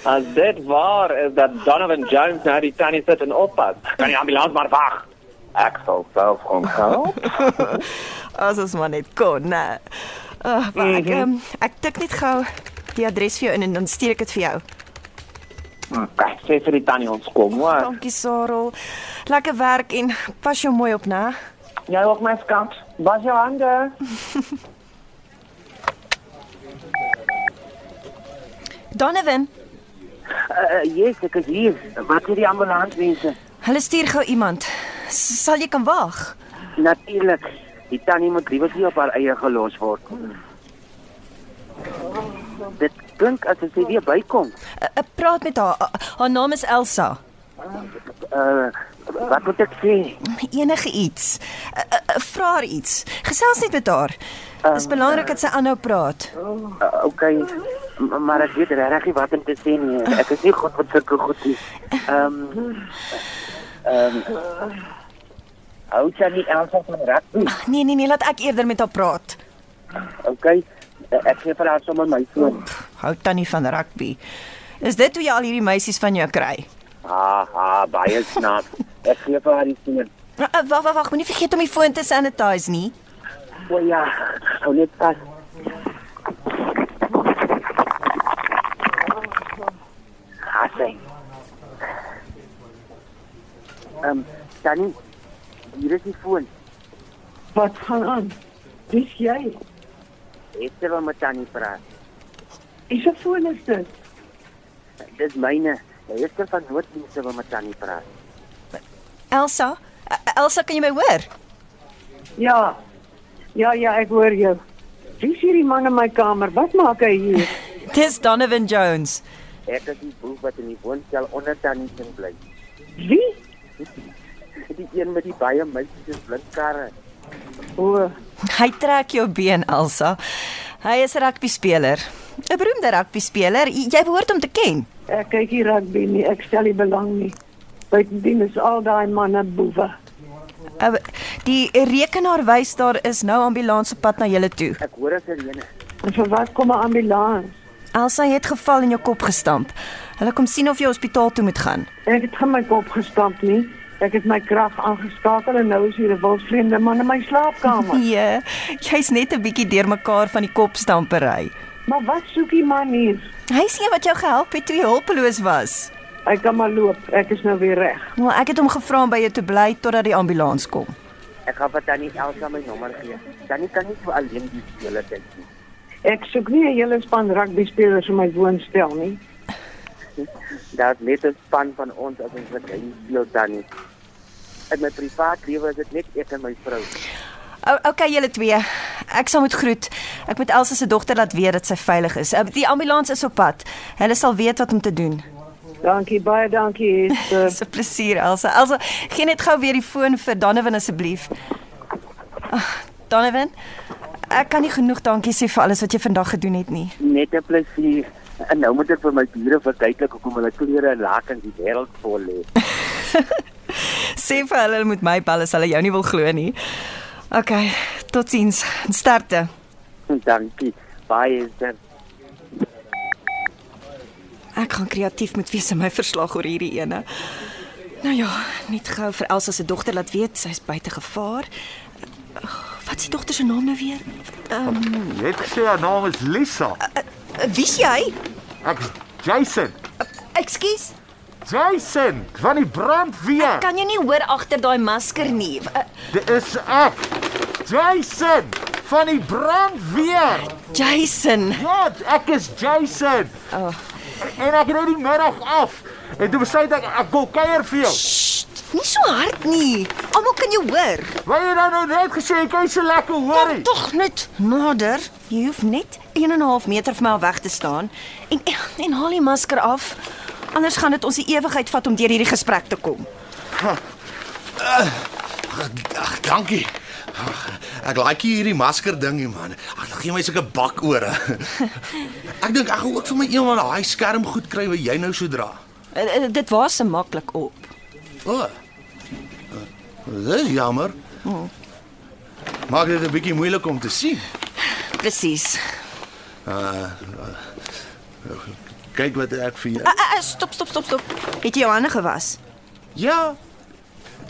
[SPEAKER 7] As dit waar is dat Donovan Jones nou die tannie sit en oppas, kan die ambulans maar wag. Ek sal self kom help.
[SPEAKER 2] As ons maar net kon, né. Ag, maar ek um, ek tik net gou die adres vir jou in en dan stuur ek dit vir jou.
[SPEAKER 7] Okay, sê vir die tannie ons kom, hoor.
[SPEAKER 2] Dankie, Sarel. Lekker werk en pas jou mooi op, né?
[SPEAKER 7] Jy ook my skat. Was jou hande?
[SPEAKER 2] Donovan,
[SPEAKER 4] Uh, yes, ek is hier. Wat het die ambulansmense?
[SPEAKER 2] hulle stuur gou iemand. S sal jy kan wag?
[SPEAKER 4] Natuurlik. Die tannie moet liewer hier op haar eie gelos word. Dit klink asof sy weer bykom.
[SPEAKER 2] Uh, uh, praat met haar. Uh, haar naam is Elsa.
[SPEAKER 4] Uh wat moet ek sê?
[SPEAKER 2] Enige iets. Uh, uh, uh, Vra haar iets. Gesels net met haar. Dit is belangrik dat sy aanhou praat.
[SPEAKER 4] Uh, okay. M- Maar ek weet regtig nie wat om te sê nie. Ek is nie goed met sulke goed nie. Ehm um, ehm um, Hou sy nie Elsa van rugby.
[SPEAKER 2] Nee, nee, nee, laat ek eerder met haar praat.
[SPEAKER 4] Okay. Ek gee vir haar sommer my foon.
[SPEAKER 2] Hou tannie van rugby. Is dit hoe jy al hierdie meisies van jou kry?
[SPEAKER 4] Haha, baie snaaks. Ek gee vir haar die foon.
[SPEAKER 2] Uh, uh, Wag, wag, wag, moenie vergeet om die foon te sanitize nie.
[SPEAKER 4] O ja, hou net vas. Hasse. Ehm, um, Tannie, hier is die foon.
[SPEAKER 3] Wat gaan aan? Dis jy.
[SPEAKER 4] Esther wil met Tannie praat.
[SPEAKER 3] Is 'n foon is dit?
[SPEAKER 4] Dis myne. Esther van Noorddienste wil met Tannie praat.
[SPEAKER 2] Elsa, uh, uh, Elsa, kan jy my hoor?
[SPEAKER 3] Ja. Ja ja, ek hoor jou. Wie is hierdie man in my kamer? Wat maak hy hier?
[SPEAKER 2] Dis Donovan Jones.
[SPEAKER 4] Ek is die boef wat in die woonstel onder Tannie se bly.
[SPEAKER 3] Wie?
[SPEAKER 4] Die een met die baie meisies en blink karre.
[SPEAKER 3] O,
[SPEAKER 2] Hy trek jou been, Elsa. Hy is 'n rugby speler. 'n Beroemde rugby speler. Jy jy behoort hom te ken.
[SPEAKER 3] ek kyk Eh, hier rugby nie. Ek stel nie belang nie. Buitendien is al daai manne boewe.
[SPEAKER 2] Eh, Uh, Die rekenaar wys daar is nou ambulans op pad na julle toe.
[SPEAKER 4] Ek hoor 'n sirene.
[SPEAKER 3] En vir wat kom 'n ambulans?
[SPEAKER 2] Elsa jy het geval en jou kop gestamp. Hulle kom sien of jy hospitaal toe moet gaan.
[SPEAKER 3] Ek het geen my kop gestamp nie. Ek het my krag aangeskakel en nou is hier 'n wildvreemde man in my slaapkamer.
[SPEAKER 2] Nee, jy's net 'n bietjie deurmekaar van die kopstampery.
[SPEAKER 3] maar wat soek die man hier?
[SPEAKER 2] Hy's een wat jou gehelp het toe jy hulpeloos was.
[SPEAKER 3] Hy kan maar loop. Ek is nou weer reg.
[SPEAKER 2] Wel, ek het hom gevra om by jou te bly totdat die ambulans kom.
[SPEAKER 7] Ek gaan vir Tannie Elsa my nommer gee. Tannie kan nie so alleen die hele tyd nie.
[SPEAKER 3] Ek soek nie 'n hele span rugby spelers in my woonstel nie.
[SPEAKER 7] Daar's net 'n span van ons as ons wat hy speel Tannie. In my privaat lewe is dit net ek en my vrou.
[SPEAKER 2] O, okay, julle twee. Ek sal moet groet. Ek moet Elsa se dogter laat weet dat sy veilig is. Uh, Die ambulans is op pad. Hulle sal weet wat om te doen.
[SPEAKER 3] Dankie baie, dankie. Esther.
[SPEAKER 2] Dis 'n plesier, Elsa. Elsa, gee net gou weer die foon vir Donovan asseblief. Ag, Donovan, ek kan nie genoeg dankie sê vir alles wat jy vandag gedoen het nie.
[SPEAKER 7] Net 'n plesier. En nou moet ek vir my bure verduidelik hoekom hulle klere en lakens die wêreld vol lê.
[SPEAKER 2] Sê vir hulle hulle moet my bel as hulle jou nie wil glo nie. Okay, totsiens. Sterkte.
[SPEAKER 7] Dankie. Baie is dit.
[SPEAKER 2] Ek gaan kreatief moet wees in my verslag oor hierdie ene. Nou ja, net gou vir Elsa se dogter laat weet sy's buite gevaar. Wat is die dogter se naam nou weer? Ehm, um,
[SPEAKER 4] Jy het gesê haar naam is Lisa.
[SPEAKER 2] wie's jy?
[SPEAKER 4] Ek's Jason.
[SPEAKER 8] Ekskuus,
[SPEAKER 4] Jason van die brandweer.
[SPEAKER 8] kan jy nie hoor agter daai masker nie?
[SPEAKER 2] eh,
[SPEAKER 8] Uh,
[SPEAKER 4] Dit is ek. Jason van die brandweer.
[SPEAKER 2] Jason.
[SPEAKER 4] Ja, ek is Jason.
[SPEAKER 2] Oh.
[SPEAKER 4] En ek ry die middag af. En toe besluit ek ek wil kuier vir jou.
[SPEAKER 8] Sst, nie so hard nie. Almal kan jou hoor.
[SPEAKER 4] Wat jy dan nou net gesê, jy kan so lekker hoor.
[SPEAKER 8] Kom tog net.
[SPEAKER 2] Nader, jy hoef net 1 en 'n half meter van my af weg te staan en en haal die masker af. Anders gaan dit ons 'n ewigheid vat om deur hierdie gesprek te kom.
[SPEAKER 9] Ag, dankie. Ag, Ek like nie hierdie masker ding nie, man. Ag, gee my sulke bakore. Ek dink ek gaan ook vir my eendag daai skerm goed kry wat jy nou so dra.
[SPEAKER 2] Uh, uh, dit was se maklik op.
[SPEAKER 9] O. Oh. Dis jammer. Maak dit 'n bietjie moeilik om te sien.
[SPEAKER 2] Presies.
[SPEAKER 9] Kyk wat ek vir jou.
[SPEAKER 2] Uh, uh, uh, stop, stop, stop, stop. Het jy jou hande gewas?
[SPEAKER 9] Ja.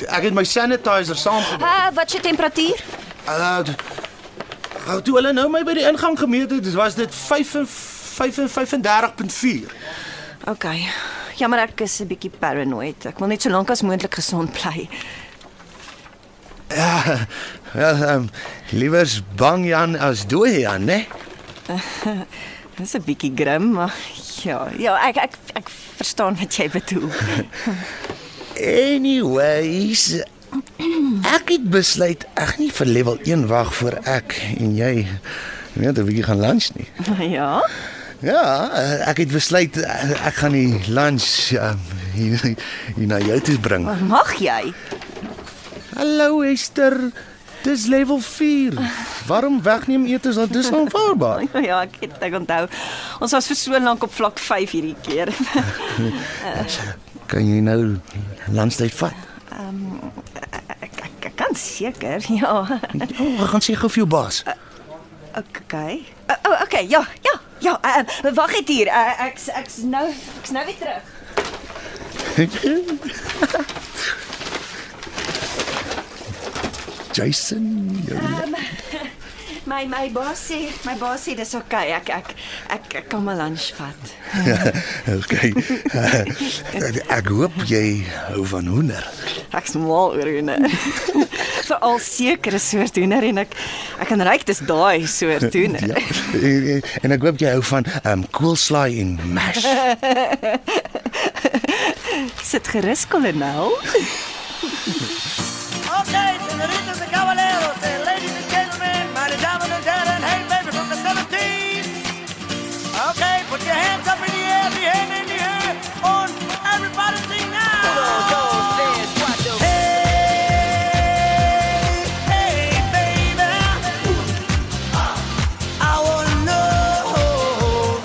[SPEAKER 9] Ek het my sanitizer saamgebring.
[SPEAKER 8] Uh, wat se temperatuur?
[SPEAKER 9] Uh, Hou toe hulle nou my by die ingang gemeet het, was dit 35.4.
[SPEAKER 2] OK. Jammer ek is 'n bietjie paranoid. Ek wil net so lank as moontlik gesond bly.
[SPEAKER 9] Ja, wel, um, liewers bang Jan as dooi Jan, né?
[SPEAKER 2] Dis 'n bietjie grim, maar ja, ja, ek ek ek verstaan wat jy bedoel.
[SPEAKER 9] Anyways, ek het besluit ek gaan nie vir level 1 wag voor ek en jy net 'n bietjie gaan lunch nie.
[SPEAKER 2] ja.
[SPEAKER 9] Ja, eh, ek het besluit eh, ek gaan die lunch um, hier, hier na jou toe bring.
[SPEAKER 2] Mag jy?
[SPEAKER 9] Hallo Esther, dis level 4. Waarom wegneem etes want dis aanvaarbaar.
[SPEAKER 2] Ja, ek het ek onthou. Ons was vir so lank op vlak 5 hierdie keer.
[SPEAKER 9] Kan jy nou lunchtyd vat?
[SPEAKER 2] Ehm, ek, ek, ek kan seker. Ja.
[SPEAKER 9] Oh, ek gaan sê gou vir jou baas.
[SPEAKER 2] Okay. O, oh, okay, ja, ja, ja. Uh, uh, Wag net hier. Uh, ek ek's nou ek's nou weer terug.
[SPEAKER 9] Jason, jou
[SPEAKER 2] My my baas sê, my baas sê dis okay. Ek ek ek, ek kan my lunch vat.
[SPEAKER 9] Okay. ek hoop jy hou van hoender.
[SPEAKER 2] Ek's mal oor hoender. Veral sekere soort hoender en ek ek kan ryk dis daai soort hoender.
[SPEAKER 9] Ja. En, en ek hoop jy hou van um koolslaai en mash.
[SPEAKER 2] Sit gerus, kolonel.
[SPEAKER 6] Okay, senoritas and caballeros, and eh, ladies and gentlemen, meine Damen und Herren, hey baby from the 17s. Okay, put your hands up in the air, die Hände in die Höhe, und everybody sing now. Hey, hey, baby. I wanna know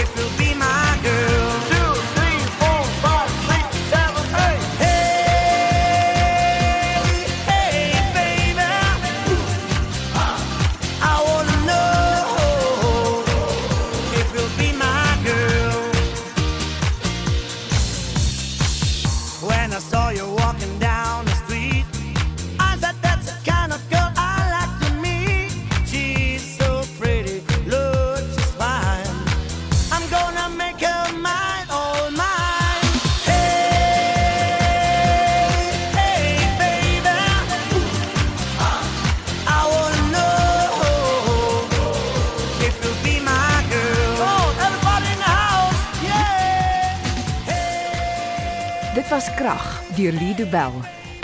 [SPEAKER 6] if you'll be my girl. Two, three, four, five, six, seven, eight. Hey. Hey, Uh,
[SPEAKER 1] Dit was Krag deur Lido Bell,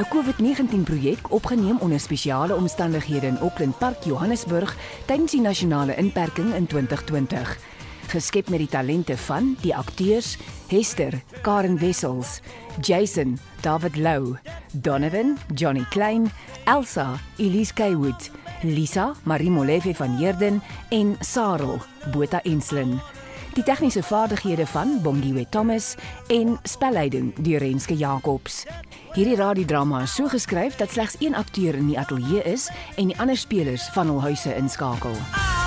[SPEAKER 1] 'n COVID-19 projek opgeneem onder spesiale omstandighede in Auckland Park, Johannesburg tydens die nasionale inperking in 2020. Geskep met die talente van die akteurs Hester, Karen Wessels, Jason, David Lou, Donovan, Johnny Klein, Elsa, Elise Kaywood, Lisa, Marie Molefe van Heerden en Sarel, Botha Enslin die tegniese vaardighede van Bongiwe Thomas en spelleiding deur Renske Jacobs. Hierdie radiodrama is so geskryf dat slegs een akteur in die ateljee is en die ander spelers van hul huise inskakel.